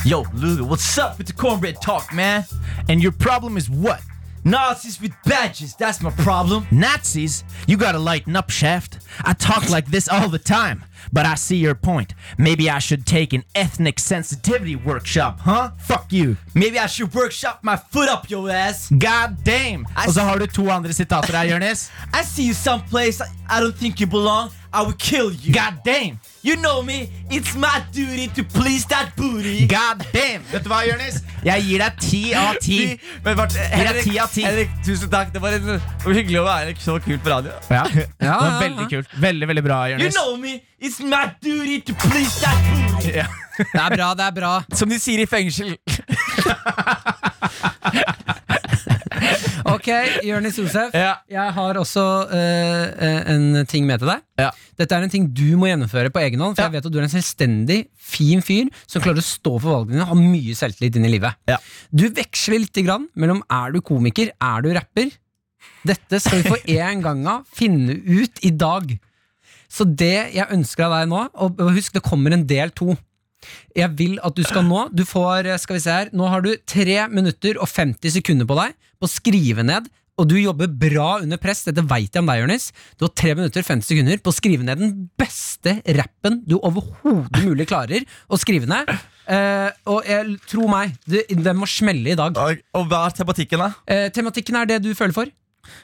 [SPEAKER 7] Yo, Lulu, what's up with the cornbread talk, man?
[SPEAKER 4] And your problem is what?
[SPEAKER 7] Nazis with badges, that's my problem.
[SPEAKER 4] Nazis? You gotta lighten up, Shaft. I talk like this all the time, but I see your point. Maybe I should take an ethnic sensitivity workshop, huh? Fuck you.
[SPEAKER 7] Maybe I should workshop my foot up your ass.
[SPEAKER 4] God damn! Og så har du to andre sitater her, Jonis.
[SPEAKER 7] I see you someplace I don't think you belong. I will kill you.
[SPEAKER 14] God damn!
[SPEAKER 7] You know me. It's my duty to please that booty.
[SPEAKER 14] God damn! Vet du hva, Jonis? Jeg gir deg ti av ti.
[SPEAKER 7] Vi- Men Bart, Henrik,
[SPEAKER 14] ti av ti.
[SPEAKER 7] Henrik, tusen takk. Det var, en, det var hyggelig å være så kult på radio.
[SPEAKER 14] Ja, det var Veldig kult. Veldig, veldig bra,
[SPEAKER 7] You
[SPEAKER 14] Jonis.
[SPEAKER 7] know me. It's my duty to please that booty.
[SPEAKER 6] Det er bra, det er bra.
[SPEAKER 7] Som de sier i fengsel.
[SPEAKER 6] Ok, Jonis Josef.
[SPEAKER 7] Ja.
[SPEAKER 6] Jeg har også eh, eh, en ting med til deg.
[SPEAKER 7] Ja.
[SPEAKER 6] Dette er en ting du må gjennomføre på egen hånd. For jeg vet at du er en selvstendig, fin fyr som klarer å stå for valgene dine og har mye selvtillit inn i livet.
[SPEAKER 7] Ja.
[SPEAKER 6] Du veksler litt grann mellom er du komiker, er du rapper. Dette skal vi for en gang av finne ut i dag. Så det jeg ønsker av deg nå, og husk det kommer en del to. Jeg vil at du skal nå Du får, eh, skal vi se her Nå har du 3 minutter og 50 sekunder på deg På å skrive ned Og du jobber bra under press Dette vet jeg om deg, Jørnes Du har 3 minutter og 50 sekunder På å skrive ned den beste rappen Du overhovedet mulig klarer Å skrive ned eh, Og jeg, tro meg det, Den må smelle i dag
[SPEAKER 7] Og, og hva er tematikken, da?
[SPEAKER 6] eh, Tematikken er det du føler for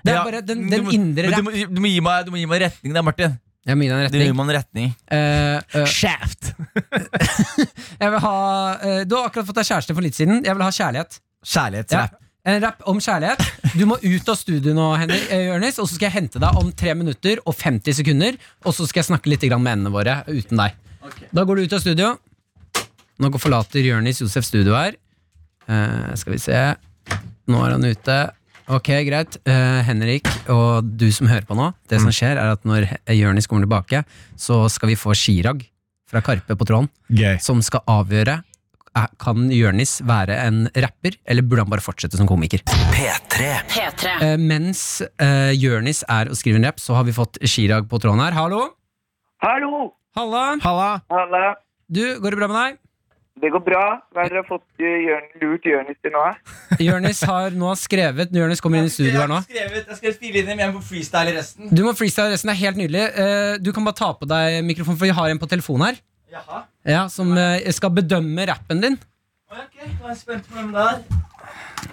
[SPEAKER 6] Det er
[SPEAKER 7] Ja,
[SPEAKER 6] bare den,
[SPEAKER 7] men du
[SPEAKER 6] den
[SPEAKER 7] må-
[SPEAKER 6] indre
[SPEAKER 7] men
[SPEAKER 6] rapp
[SPEAKER 7] du, må- du, må gi meg- du må gi meg retning da, Martin.
[SPEAKER 6] Jeg må gi deg en
[SPEAKER 7] Du gir
[SPEAKER 6] retning
[SPEAKER 7] meg en retning
[SPEAKER 6] Eh, eh,
[SPEAKER 7] Shaft.
[SPEAKER 6] jeg vil ha, eh, Du har akkurat fått deg kjæreste for litt siden Jeg vil ha kjærlighet Ja.
[SPEAKER 7] Kjærlighetsrapp.
[SPEAKER 6] En rapp om kjærlighet. Du må ut av studio nå, Henrik, eh, Jørnis, og så skal jeg hente deg om 3 minutter og 50 sekunder. Og så skal jeg snakke litt grann med endene våre uten deg. Da går du ut av studio. Nå går- forlater Jørnis Josef studio her. Eh, skal vi se. Nå er han ute. Ok, greit. Eh, Henrik og du som hører på nå, det som skjer er at når He- Jørnis kommer tilbake, så skal vi få Chirag fra Karpe på tråden
[SPEAKER 3] Gøy.
[SPEAKER 6] som skal avgjøre er- kan Jørnis være en rapper, eller burde han bare fortsette som komiker?
[SPEAKER 1] P3.
[SPEAKER 6] Eh, mens eh, Jørnis er og skriver en rapp, så har vi fått Chirag på tråden her. Hallo!
[SPEAKER 17] Hallo!
[SPEAKER 6] Halla!
[SPEAKER 14] Halla.
[SPEAKER 17] Halla.
[SPEAKER 6] Du, går det bra med deg?
[SPEAKER 17] Det går bra. Hva har dere fått eh, Jørn, lurt Jonis til nå? eh?
[SPEAKER 6] Jørnis har nå skrevet Jørnis kommer inn i studio her nå.
[SPEAKER 7] skrevet, jeg skal spille inn men jeg må freestyle resten.
[SPEAKER 6] Du må freestyle resten, det er helt nydelig. Eh, du kan bare ta på deg mikrofonen, for vi har en på telefonen her.
[SPEAKER 7] Jaha.
[SPEAKER 6] Ja, Som eh, skal bedømme rappen din.
[SPEAKER 7] Ok, nå er jeg spent på hvem det er.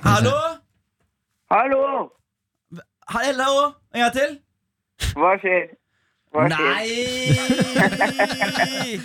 [SPEAKER 7] Hallo?
[SPEAKER 17] Hallo!
[SPEAKER 7] Hallo? En gang til?
[SPEAKER 17] Hva skjer? Hva skjer?
[SPEAKER 7] Nei!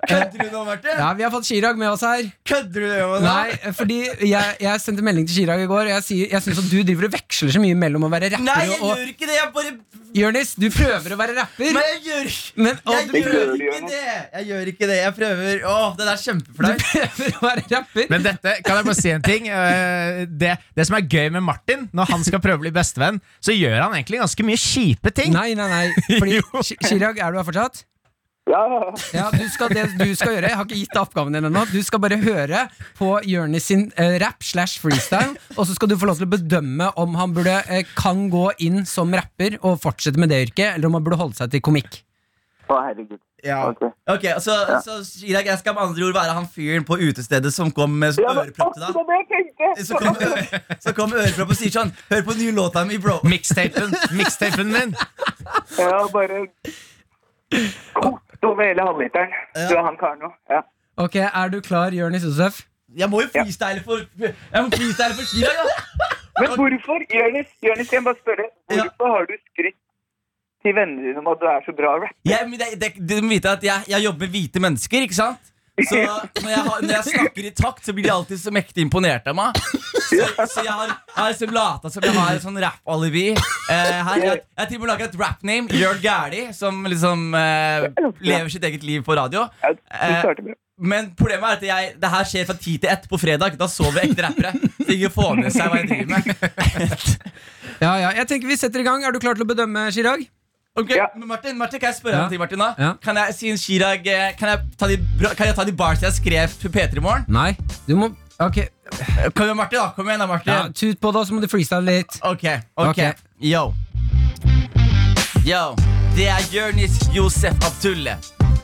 [SPEAKER 7] Kødder du nå, Martin?
[SPEAKER 6] Ja, Vi har fått Chirag med oss her.
[SPEAKER 7] Kødder du nå?
[SPEAKER 6] Nei, fordi jeg, jeg sendte melding til Chirag i går, og jeg, sier, jeg syns at du driver og veksler så mye mellom å være rapper
[SPEAKER 7] Nei, jeg
[SPEAKER 6] og,
[SPEAKER 7] gjør ikke det. Jeg bare
[SPEAKER 6] og Jonis, du prøver å være rapper,
[SPEAKER 7] Men jeg gjør ikke
[SPEAKER 6] men og,
[SPEAKER 7] Jeg
[SPEAKER 6] du,
[SPEAKER 7] gjør
[SPEAKER 17] prøver du,
[SPEAKER 7] ikke
[SPEAKER 17] Jonas.
[SPEAKER 7] det! Jeg gjør ikke det. Jeg prøver. Åh, det der
[SPEAKER 6] du
[SPEAKER 7] er kjempeflaut.
[SPEAKER 6] prøver å være rapper.
[SPEAKER 14] Men dette, kan jeg bare si en ting? Eh, Det, det som er gøy med Martin, når han skal prøve å bli bestevenn, så gjør han egentlig ganske mye kjipe ting.
[SPEAKER 6] Nei, nei, nei. Fordi, Chi- Chirag, er du her fortsatt?
[SPEAKER 17] Ja, ja, ja.
[SPEAKER 6] Ja, du skal, Det du skal gjøre, jeg har ikke gitt deg oppgaven din ennå. Du skal bare høre på Jonis sin eh, rap slash freestyle, og så skal du få lov til å bedømme om han burde, eh, kan gå inn som rapper og fortsette med det yrket, eller om han burde holde seg til komikk.
[SPEAKER 17] Å, herregud.
[SPEAKER 7] Ja.
[SPEAKER 17] Ok.
[SPEAKER 7] Ok, så, så Chirag, jeg skal med andre ord være han fyren på utestedet som kom med
[SPEAKER 17] Ja, men
[SPEAKER 7] ørepropp til
[SPEAKER 17] akkurat
[SPEAKER 7] deg.
[SPEAKER 17] det var det jeg tenkte!
[SPEAKER 7] Så kom, så kom ørepropp og sier sånn Hør på den nye låta mi, bro.
[SPEAKER 14] Mixtapen, mixtapen min!
[SPEAKER 17] Ja, bare kokt over hele halvliteren. Du er han karen nå. Ja.
[SPEAKER 6] Ok, Er du klar, Jonis Josef?
[SPEAKER 7] Jeg må jo freestyle for Jeg må freestyle for Chirag, da.
[SPEAKER 17] Men hvorfor, Jonis, Jonis, jeg må bare spørre, hvorfor har du skrytt til vennene dine om at du er så bra rapper?
[SPEAKER 7] Jeg, men det, det, du må vite at jeg, jeg jobber med hvite mennesker, ikke sant? Så når jeg, har, når jeg snakker i takt, så blir de alltid så mektig imponert av meg. Så, så jeg har, jeg har liksom lata som jeg har et sånn rap-alibi. Eh, her, jeg, jeg har til og med laga et rap-name, Jørn Gæli, som liksom eh, lever sitt eget liv på radio.
[SPEAKER 17] Ja, du
[SPEAKER 7] Eh,
[SPEAKER 17] starter med
[SPEAKER 7] Men problemet er at jeg, det her skjer fra ti til ett på fredag. Da sover ekte rappere. Så ingen får med seg hva jeg driver med.
[SPEAKER 6] Ja, ja, jeg tenker vi setter i gang. Er du klar til å bedømme, Chirag?
[SPEAKER 7] Ok,
[SPEAKER 17] Ja.
[SPEAKER 7] men Martin, Martin, Kan jeg spørre
[SPEAKER 6] Ja.
[SPEAKER 7] om en ting, Martin? da?
[SPEAKER 6] Ja.
[SPEAKER 7] Kan jeg si en Chirag eh, Kan jeg ta de, bra- kan jeg ta de bars jeg skrev til P3 i morgen?
[SPEAKER 6] Nei, du må Ok,
[SPEAKER 7] Eh, Kom igjen, Martin. da, kom igjen da, Martin
[SPEAKER 6] ja, tut på det, og så må du freestyle litt.
[SPEAKER 7] Ok, ok,
[SPEAKER 6] Ok.
[SPEAKER 7] Yo Yo Det er Jørnis Josef Abdulle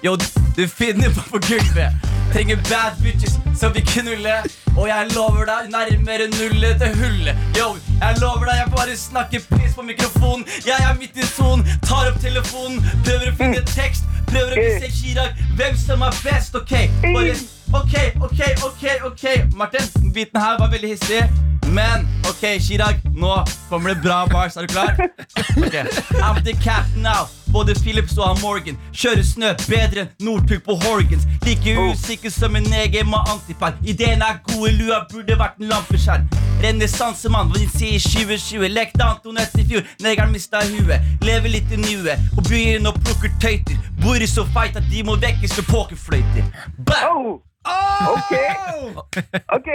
[SPEAKER 7] Yo, du finner meg på gulvet Trenger bad bitches som vil knulle Og jeg lover deg nærmere nullet til hullet Yo, jeg lover deg jeg bare snakker piss på mikrofonen Jeg er midt i sonen, tar opp telefonen Prøver å finne tekst, prøver å vise Chirag Hvem som er best, ok Bare, ok, ok, ok, ok Martin, biten her var veldig hissig men ok, Chirag, nå kommer det bra bars. Er du klar? Ok. I'm the captain now. både Philips og han Morgan. Kjører snø bedre enn Northug på Horgans. Like usikker som en egen med antipar. Ideen er gode, lua burde vært en lampeskjerm. Renessansemann, hva de sier i 2020. Lekte Antones i fjor, negeren mista huet. Lever litt i nuet, og byen og plukker tøyter. Bor i så feit at de må vekkes med pokerfløyter. Bæ!
[SPEAKER 17] Ok! Ok,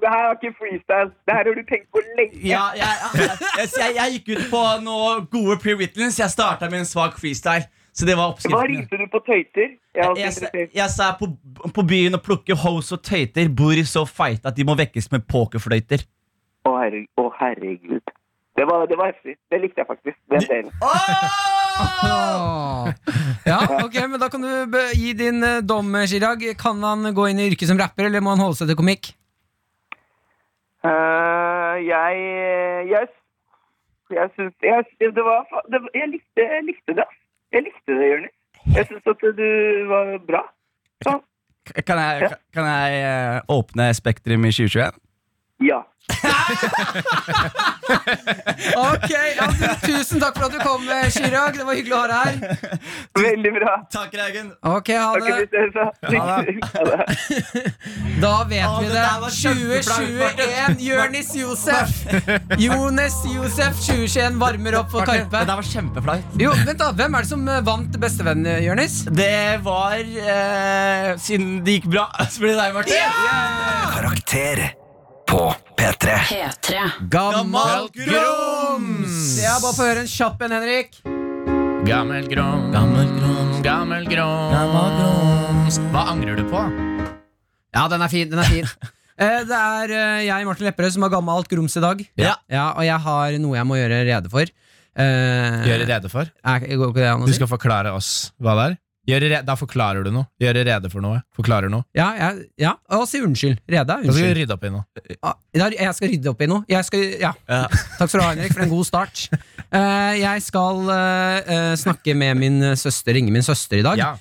[SPEAKER 17] Det her er ikke freestyle. Det her har du tenkt på lenge.
[SPEAKER 7] Ja, jeg, jeg, jeg, jeg, jeg gikk ut på noen gode pre-writtens. Jeg starta med en svak freestyle. Så det var
[SPEAKER 17] Hva
[SPEAKER 7] oppskriften.
[SPEAKER 17] rimte du på tøyter? Jeg er også
[SPEAKER 7] Jeg,
[SPEAKER 17] interessert.
[SPEAKER 7] jeg, jeg sa på, på byen og plukke hoes og tøyter. Bor i så feit at de må vekkes med pokerfløyter.
[SPEAKER 17] Å, herre- å, herregud. Det var, det var heftig. Det likte jeg faktisk. Den delen.
[SPEAKER 6] Ja, ok, men Da kan du be- gi din eh, dom, Chirag. Kan han gå inn i yrket som rapper, eller må han holde seg til komikk?
[SPEAKER 17] Eh, jeg Jeg, jeg syns jeg, det var, fa- det, jeg, likte, jeg likte det. ass. Jeg likte det, Jonis. Jeg syns at du var bra.
[SPEAKER 7] Kan jeg, kan jeg eh, åpne Spektrum i 2021?
[SPEAKER 17] Ja.
[SPEAKER 6] Ok, ja, du, Tusen takk for at du kom, eh, Chirag. Det var hyggelig å ha deg her.
[SPEAKER 17] Veldig bra.
[SPEAKER 7] Takk, Reigen.
[SPEAKER 6] Ok, ha
[SPEAKER 17] Ok,
[SPEAKER 6] det.
[SPEAKER 17] vi ses, da.
[SPEAKER 6] Ha Da vet
[SPEAKER 7] Å,
[SPEAKER 6] vi
[SPEAKER 7] det
[SPEAKER 6] det.
[SPEAKER 7] der var kjempeflaut,
[SPEAKER 6] 2021, Jonis Josef. Jonis Josef 2021 varmer opp for
[SPEAKER 7] Martin,
[SPEAKER 6] Karpe.
[SPEAKER 7] Det der var kjempeflaut.
[SPEAKER 6] Jo, vent da, Hvem er det som eh, vant Bestevenn, eh, Jonis?
[SPEAKER 7] Det var eh, Siden det gikk bra, så ble det deg, Martin.
[SPEAKER 16] Karakter på P3.
[SPEAKER 1] P3.
[SPEAKER 6] Gammalt
[SPEAKER 18] grums!
[SPEAKER 6] Ja, Bare få høre en kjapp en, Henrik.
[SPEAKER 18] Gammel grums, gammel grums, gammel grums. Hva angrer du på?
[SPEAKER 6] Ja, den er fin. den er fin Eh, Det er eh, jeg, Martin Lepperød, som har gammalt grums i dag.
[SPEAKER 7] Ja.
[SPEAKER 6] Og jeg har noe jeg må gjøre rede for. Eh,
[SPEAKER 4] Gjøre rede for?
[SPEAKER 6] er, Går ikke det an å
[SPEAKER 4] Du
[SPEAKER 6] si?
[SPEAKER 4] skal forklare oss hva det er? Gjøre re da forklarer du noe. Gjøre rede for noe. Forklarer noe.
[SPEAKER 6] Ja, jeg, ja. Og si unnskyld. Rede er
[SPEAKER 4] Da skal vi
[SPEAKER 6] unnskyld.
[SPEAKER 4] rydde opp i noe.
[SPEAKER 6] Ah, der- Jeg skal rydde opp i noe. Jeg skal, ja. Takk skal du ha, Henrik, for en god start. Eh, jeg skal eh, eh, snakke med min søster, ringe min søster i dag.
[SPEAKER 4] Ja.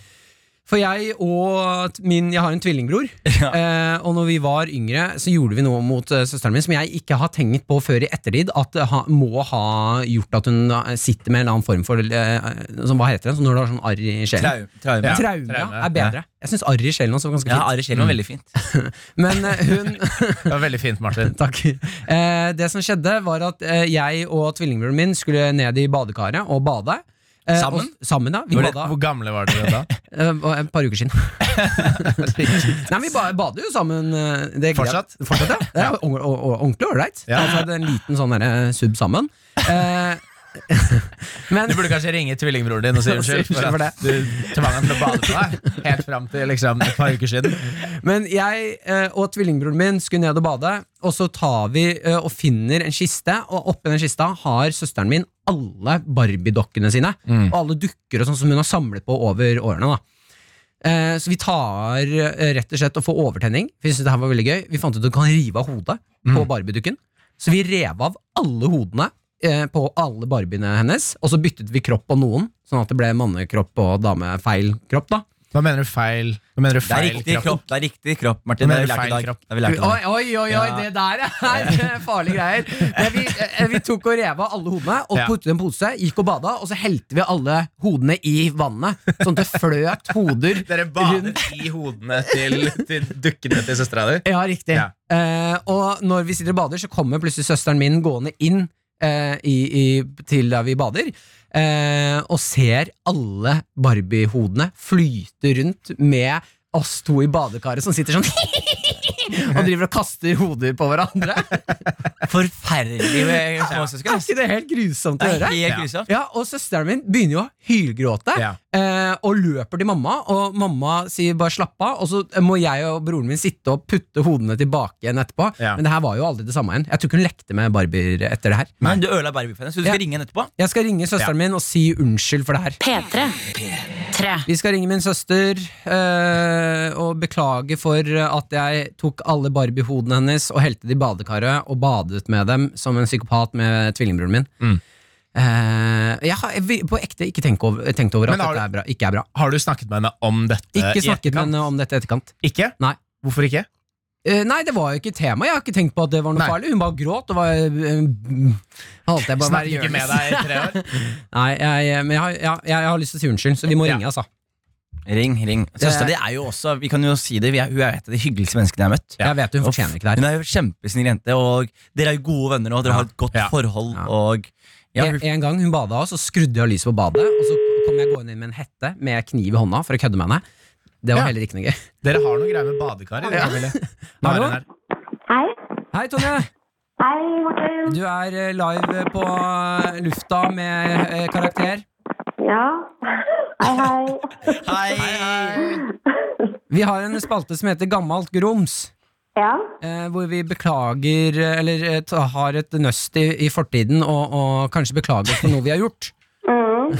[SPEAKER 6] For jeg og t- min Jeg har en tvillingbror. Eh, og når vi var yngre, så gjorde vi noe mot eh, søsteren min som jeg ikke har tenkt på før i ettertid. At det ha, må ha gjort at hun eh, sitter med en eller annen form for eh, som, Hva heter det? Sånn når du har sånn arr i sjelen?
[SPEAKER 7] Traume.
[SPEAKER 6] Ja,
[SPEAKER 7] Ja.
[SPEAKER 6] Traume,
[SPEAKER 4] traume,
[SPEAKER 6] er bedre. Jeg syns arr i sjelen også var ganske fint.
[SPEAKER 7] Ari Kjell var veldig fint.
[SPEAKER 6] Men eh, hun
[SPEAKER 4] Det var veldig fint, Martin.
[SPEAKER 6] Takk. Eh, det som skjedde, var at eh, jeg og tvillingbroren min skulle ned i badekaret og bade. Eh,
[SPEAKER 7] Sammen?
[SPEAKER 6] Og, sammen, ja. Vi
[SPEAKER 4] Hvor,
[SPEAKER 6] bada
[SPEAKER 4] hvor gamle var dere da?
[SPEAKER 6] eh, var et par uker siden. Nei, men Vi ba- bader jo sammen. eh, Det er greit.
[SPEAKER 4] Fortsatt?
[SPEAKER 6] Fortsatt, ja. Det er ong- og- og- ordentlig ålreit.
[SPEAKER 4] Ja.
[SPEAKER 6] Altså, det er en liten sånn derre sub sammen. Eh, men
[SPEAKER 4] Du burde kanskje ringe tvillingbroren din og si
[SPEAKER 6] Og si
[SPEAKER 4] unnskyld for
[SPEAKER 6] unnskyld for
[SPEAKER 4] at du tvang han til å bade på deg helt fram til liksom, et par uker siden.
[SPEAKER 6] Men jeg eh, og tvillingbroren min skulle ned og bade, og så tar vi eh, og finner en kiste, og oppi den kista har søsteren min alle Barbie-dokkene sine. Og alle dukker og sånn som hun har samlet på over årene. da Eh, Så vi tar eh, rett og slett og får overtenning. for Vi synes det her var veldig gøy Vi fant ut at du kan rive av hodet på Barbie-dukken. Så vi rev av alle hodene eh, på alle Barbiene hennes, og så byttet vi kropp på noen, sånn at det ble mannekropp og damefeil kropp. da
[SPEAKER 4] Hva mener du feil? Hva mener du
[SPEAKER 7] Det er
[SPEAKER 4] feil
[SPEAKER 7] riktig kropp, det er riktig kropp Martin.
[SPEAKER 4] Men
[SPEAKER 7] Det har vi lært i
[SPEAKER 4] det er feil
[SPEAKER 7] dag.
[SPEAKER 4] kropp.
[SPEAKER 7] Det har vi lært i dag.
[SPEAKER 6] Oi, oi, oi, oi, det der er farlige greier. Men vi, eh, vi tok og rev av alle hodene, og
[SPEAKER 4] Ja.
[SPEAKER 6] puttet i en pose, gikk og bada, og så helte vi alle hodene i vannet. Sånn at det fløt hoder
[SPEAKER 4] Dere badet i hodene til, til dukkene til søstera di?
[SPEAKER 6] Ja, riktig.
[SPEAKER 4] Ja.
[SPEAKER 6] Eh, og når vi sitter og bader, så kommer plutselig søsteren min gående inn eh, i, i, til der vi bader, eh, og ser alle Barbie-hodene flyte rundt med oss to i badekaret som sitter sånn og driver og kaster hoder på hverandre.
[SPEAKER 7] Forferdelig med småsøsken.
[SPEAKER 6] Er ikke det helt grusomt
[SPEAKER 7] Det
[SPEAKER 6] å
[SPEAKER 7] er
[SPEAKER 6] høre?
[SPEAKER 7] helt grusomt.
[SPEAKER 6] Ja, og søsteren min begynner jo å hylgråte
[SPEAKER 4] Ja.
[SPEAKER 6] eh, og løper til mamma, og mamma sier bare slapp av, og så må jeg og broren min sitte og putte hodene tilbake igjen etterpå.
[SPEAKER 4] Ja.
[SPEAKER 6] Men det her var jo aldri det samme igjen. Jeg tror ikke hun lekte med barbier etter det her.
[SPEAKER 7] Men du ødela Barbie-fanen, så du skal
[SPEAKER 6] Ja.
[SPEAKER 7] ringe henne etterpå?
[SPEAKER 6] Jeg skal ringe søsteren min og si unnskyld for det her.
[SPEAKER 1] P3. Tre.
[SPEAKER 6] Vi skal ringe min søster eh, og beklage for at jeg tok alle Barbie-hodene hennes og helte det i badekaret og badet med dem som en psykopat med tvillingbroren min.
[SPEAKER 4] Mm.
[SPEAKER 6] Eh, jeg har vi- på ekte ikke tenkt over, tenkt over at
[SPEAKER 4] Men har
[SPEAKER 6] dette er bra, ikke er bra.
[SPEAKER 4] Har du snakket med henne om dette?
[SPEAKER 6] Ikke
[SPEAKER 4] i
[SPEAKER 6] snakket med
[SPEAKER 4] etterkant?
[SPEAKER 6] henne om dette i etterkant.
[SPEAKER 4] Ikke?
[SPEAKER 6] Nei.
[SPEAKER 4] Hvorfor ikke?
[SPEAKER 6] Eh, nei, det var jo ikke tema. Jeg har ikke tenkt på at det var noe farlig. Hun bare gråt og var eh, holdt jeg på å være
[SPEAKER 14] Snakket ikke med
[SPEAKER 6] Jonis.
[SPEAKER 14] deg i tre år?
[SPEAKER 6] Nei, jeg, eh, men jeg har, ja, jeg, har lyst til å si unnskyld, så vi må ringe, altså.
[SPEAKER 7] Ring, ring. Søstera di er jo også Vi kan jo si det, vi er, hun er et av de hyggeligste menneskene jeg har møtt.
[SPEAKER 6] Jeg vet Hun
[SPEAKER 7] Og
[SPEAKER 6] fortjener ikke det her.
[SPEAKER 7] Hun er jo kjempesnill jente, og dere er jo gode venner nå. Dere har et godt forhold. Og ja,
[SPEAKER 6] en, en gang hun bada oss, så skrudde jeg av lyset på badet. Og så kom jeg gående inn med en hette med kniv i hånda for å kødde med henne. Det var
[SPEAKER 4] Ja.
[SPEAKER 6] heller ikke noe gøy.
[SPEAKER 4] Dere har noe greier med badekar i det,
[SPEAKER 6] Ja.
[SPEAKER 4] Camille. Nå er
[SPEAKER 6] Hallo?
[SPEAKER 4] hun her.
[SPEAKER 19] Hei.
[SPEAKER 6] Hei, Tonje.
[SPEAKER 19] Hei, Martin.
[SPEAKER 6] Du er eh, live på eh, lufta med eh, karakter.
[SPEAKER 19] Ja. Hei, hei.
[SPEAKER 6] Vi har en spalte som heter Gammalt grums. Eh, hvor vi beklager, eh, eller eh, ta- har et nøst i, i fortiden og, og kanskje beklager for noe vi har gjort.
[SPEAKER 19] Mm.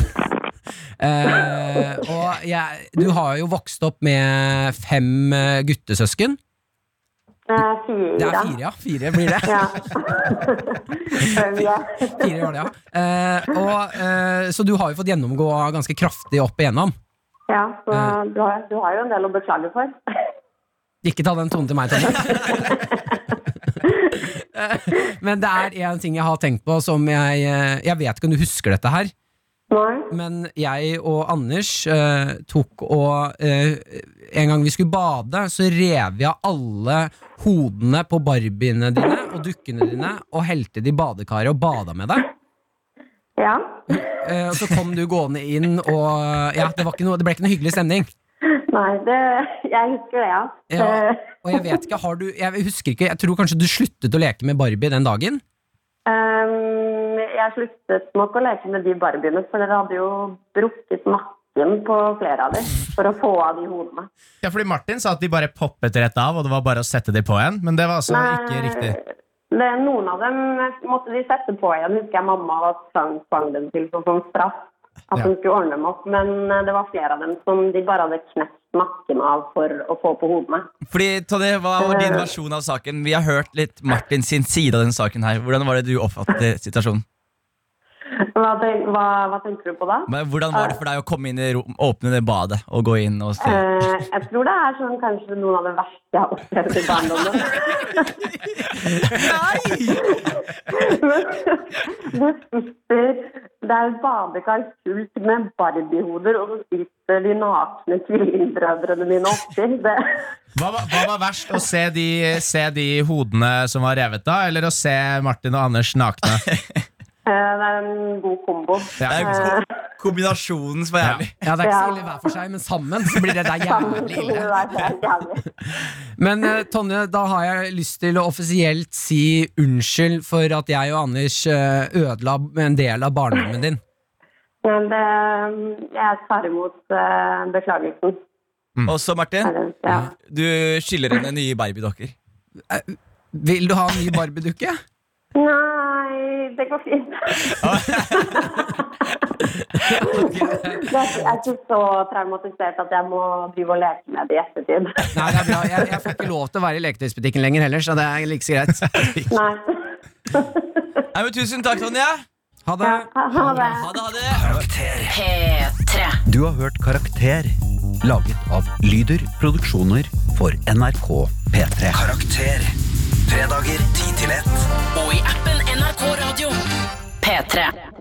[SPEAKER 6] Eh, og jeg, du har jo vokst opp med fem eh, guttesøsken.
[SPEAKER 19] Det er fire.
[SPEAKER 6] Det er fire, ja. Fire blir det.
[SPEAKER 19] Ja.
[SPEAKER 6] Fire var det, ja. Eh, og, eh, så du har jo fått gjennomgå ganske kraftig opp igjennom.
[SPEAKER 19] Ja, så
[SPEAKER 6] Eh.
[SPEAKER 19] du har, du har jo en del å beklage for.
[SPEAKER 6] Ikke ta den tonen til meg, Tonje. Eh, Men det er én ting jeg har tenkt på som jeg eh, Jeg vet ikke om du husker dette her. Men jeg og Anders eh, tok og eh, En gang vi skulle bade, så rev jeg av alle hodene på barbiene dine og dukkene dine og helte de i badekaret og bada med deg.
[SPEAKER 19] Ja.
[SPEAKER 6] Eh, og så kom du gående inn, og ja, det, var ikke noe, det ble ikke noe hyggelig stemning.
[SPEAKER 19] Nei, det, jeg husker det, ja.
[SPEAKER 6] Ja,
[SPEAKER 19] Eh,
[SPEAKER 6] og jeg vet ikke, har du Jeg husker ikke, jeg tror kanskje du sluttet å leke med Barbie den dagen?
[SPEAKER 19] ehm, jeg sluttet nok å leke med de barbiene, for dere hadde jo brukket nakken på flere av dem for å få av de hodene.
[SPEAKER 14] Ja, fordi Martin sa at de bare poppet rett av, og det var bare å sette de på igjen. Men det var altså ikke riktig.
[SPEAKER 19] Det, noen av dem måtte de sette på igjen, husker jeg mamma var tvang, tvang dem til som sånn straff. At
[SPEAKER 14] Ja.
[SPEAKER 19] de skulle ordne dem opp. Men eh, det var flere av dem som de bare hadde knekt nakken av for å få på hodene.
[SPEAKER 7] Fordi, Tonje, Hva var din versjon av saken? Vi har hørt litt Martin sin side av den saken her. Hvordan var det du oppfattet situasjonen?
[SPEAKER 19] Hva, ten- hva, hva tenker du på da?
[SPEAKER 7] Men Hvordan var det for deg å komme inn i rom, åpne det badet og gå inn og se?
[SPEAKER 19] Eh, jeg tror det er sånn kanskje noen av det verste jeg har opplevd i barndommen. Nei! det sitter Det er et badekar fullt med barbiehoder, og så sitter de nakne tvillingbrødrene mine oppi. Det,
[SPEAKER 14] Hva, var- hva var verst? Å se de, se de hodene som var revet av, eller å se Martin og Anders nakne?
[SPEAKER 19] eh, det er en god kombo.
[SPEAKER 14] Ja. Det er en god
[SPEAKER 19] Eh,
[SPEAKER 7] Kombinasjonen som var jævlig.
[SPEAKER 6] Ja, det er ikke
[SPEAKER 19] Ja.
[SPEAKER 6] så ille hver for seg, men sammen så blir det der
[SPEAKER 19] Eh, sammen
[SPEAKER 6] jævlig
[SPEAKER 19] skulle
[SPEAKER 6] ille.
[SPEAKER 19] det vært helt jævlig.
[SPEAKER 6] Men eh, Tonje, da har jeg lyst til å offisielt si unnskyld for at jeg og Anders eh, ødela en del av barndommen din.
[SPEAKER 19] Men det, jeg tar imot eh, beklagelsen.
[SPEAKER 7] Og så, Martin,
[SPEAKER 19] Ja.
[SPEAKER 7] du skylder henne nye Barbie-dokker.
[SPEAKER 6] Vil du ha en ny Barbie-dukke?
[SPEAKER 19] Nei, det går fint. Det er- jeg er ikke så traumatisert at jeg må drive og leke med det i ettertid.
[SPEAKER 6] Nei, det er bra. Jeg, jeg får ikke lov til å være i leketøysbutikken lenger heller, så det er like så greit.
[SPEAKER 19] Nei.
[SPEAKER 7] Nei, men Tusen takk, Tonje.
[SPEAKER 6] Ha det.
[SPEAKER 19] Ha det.
[SPEAKER 1] P3.
[SPEAKER 16] Du har hørt Karakter, laget av Lyder Produksjoner for NRK P3. Karakter. Fredager 10 til 1.
[SPEAKER 1] Og i appen NRK Radio. P3.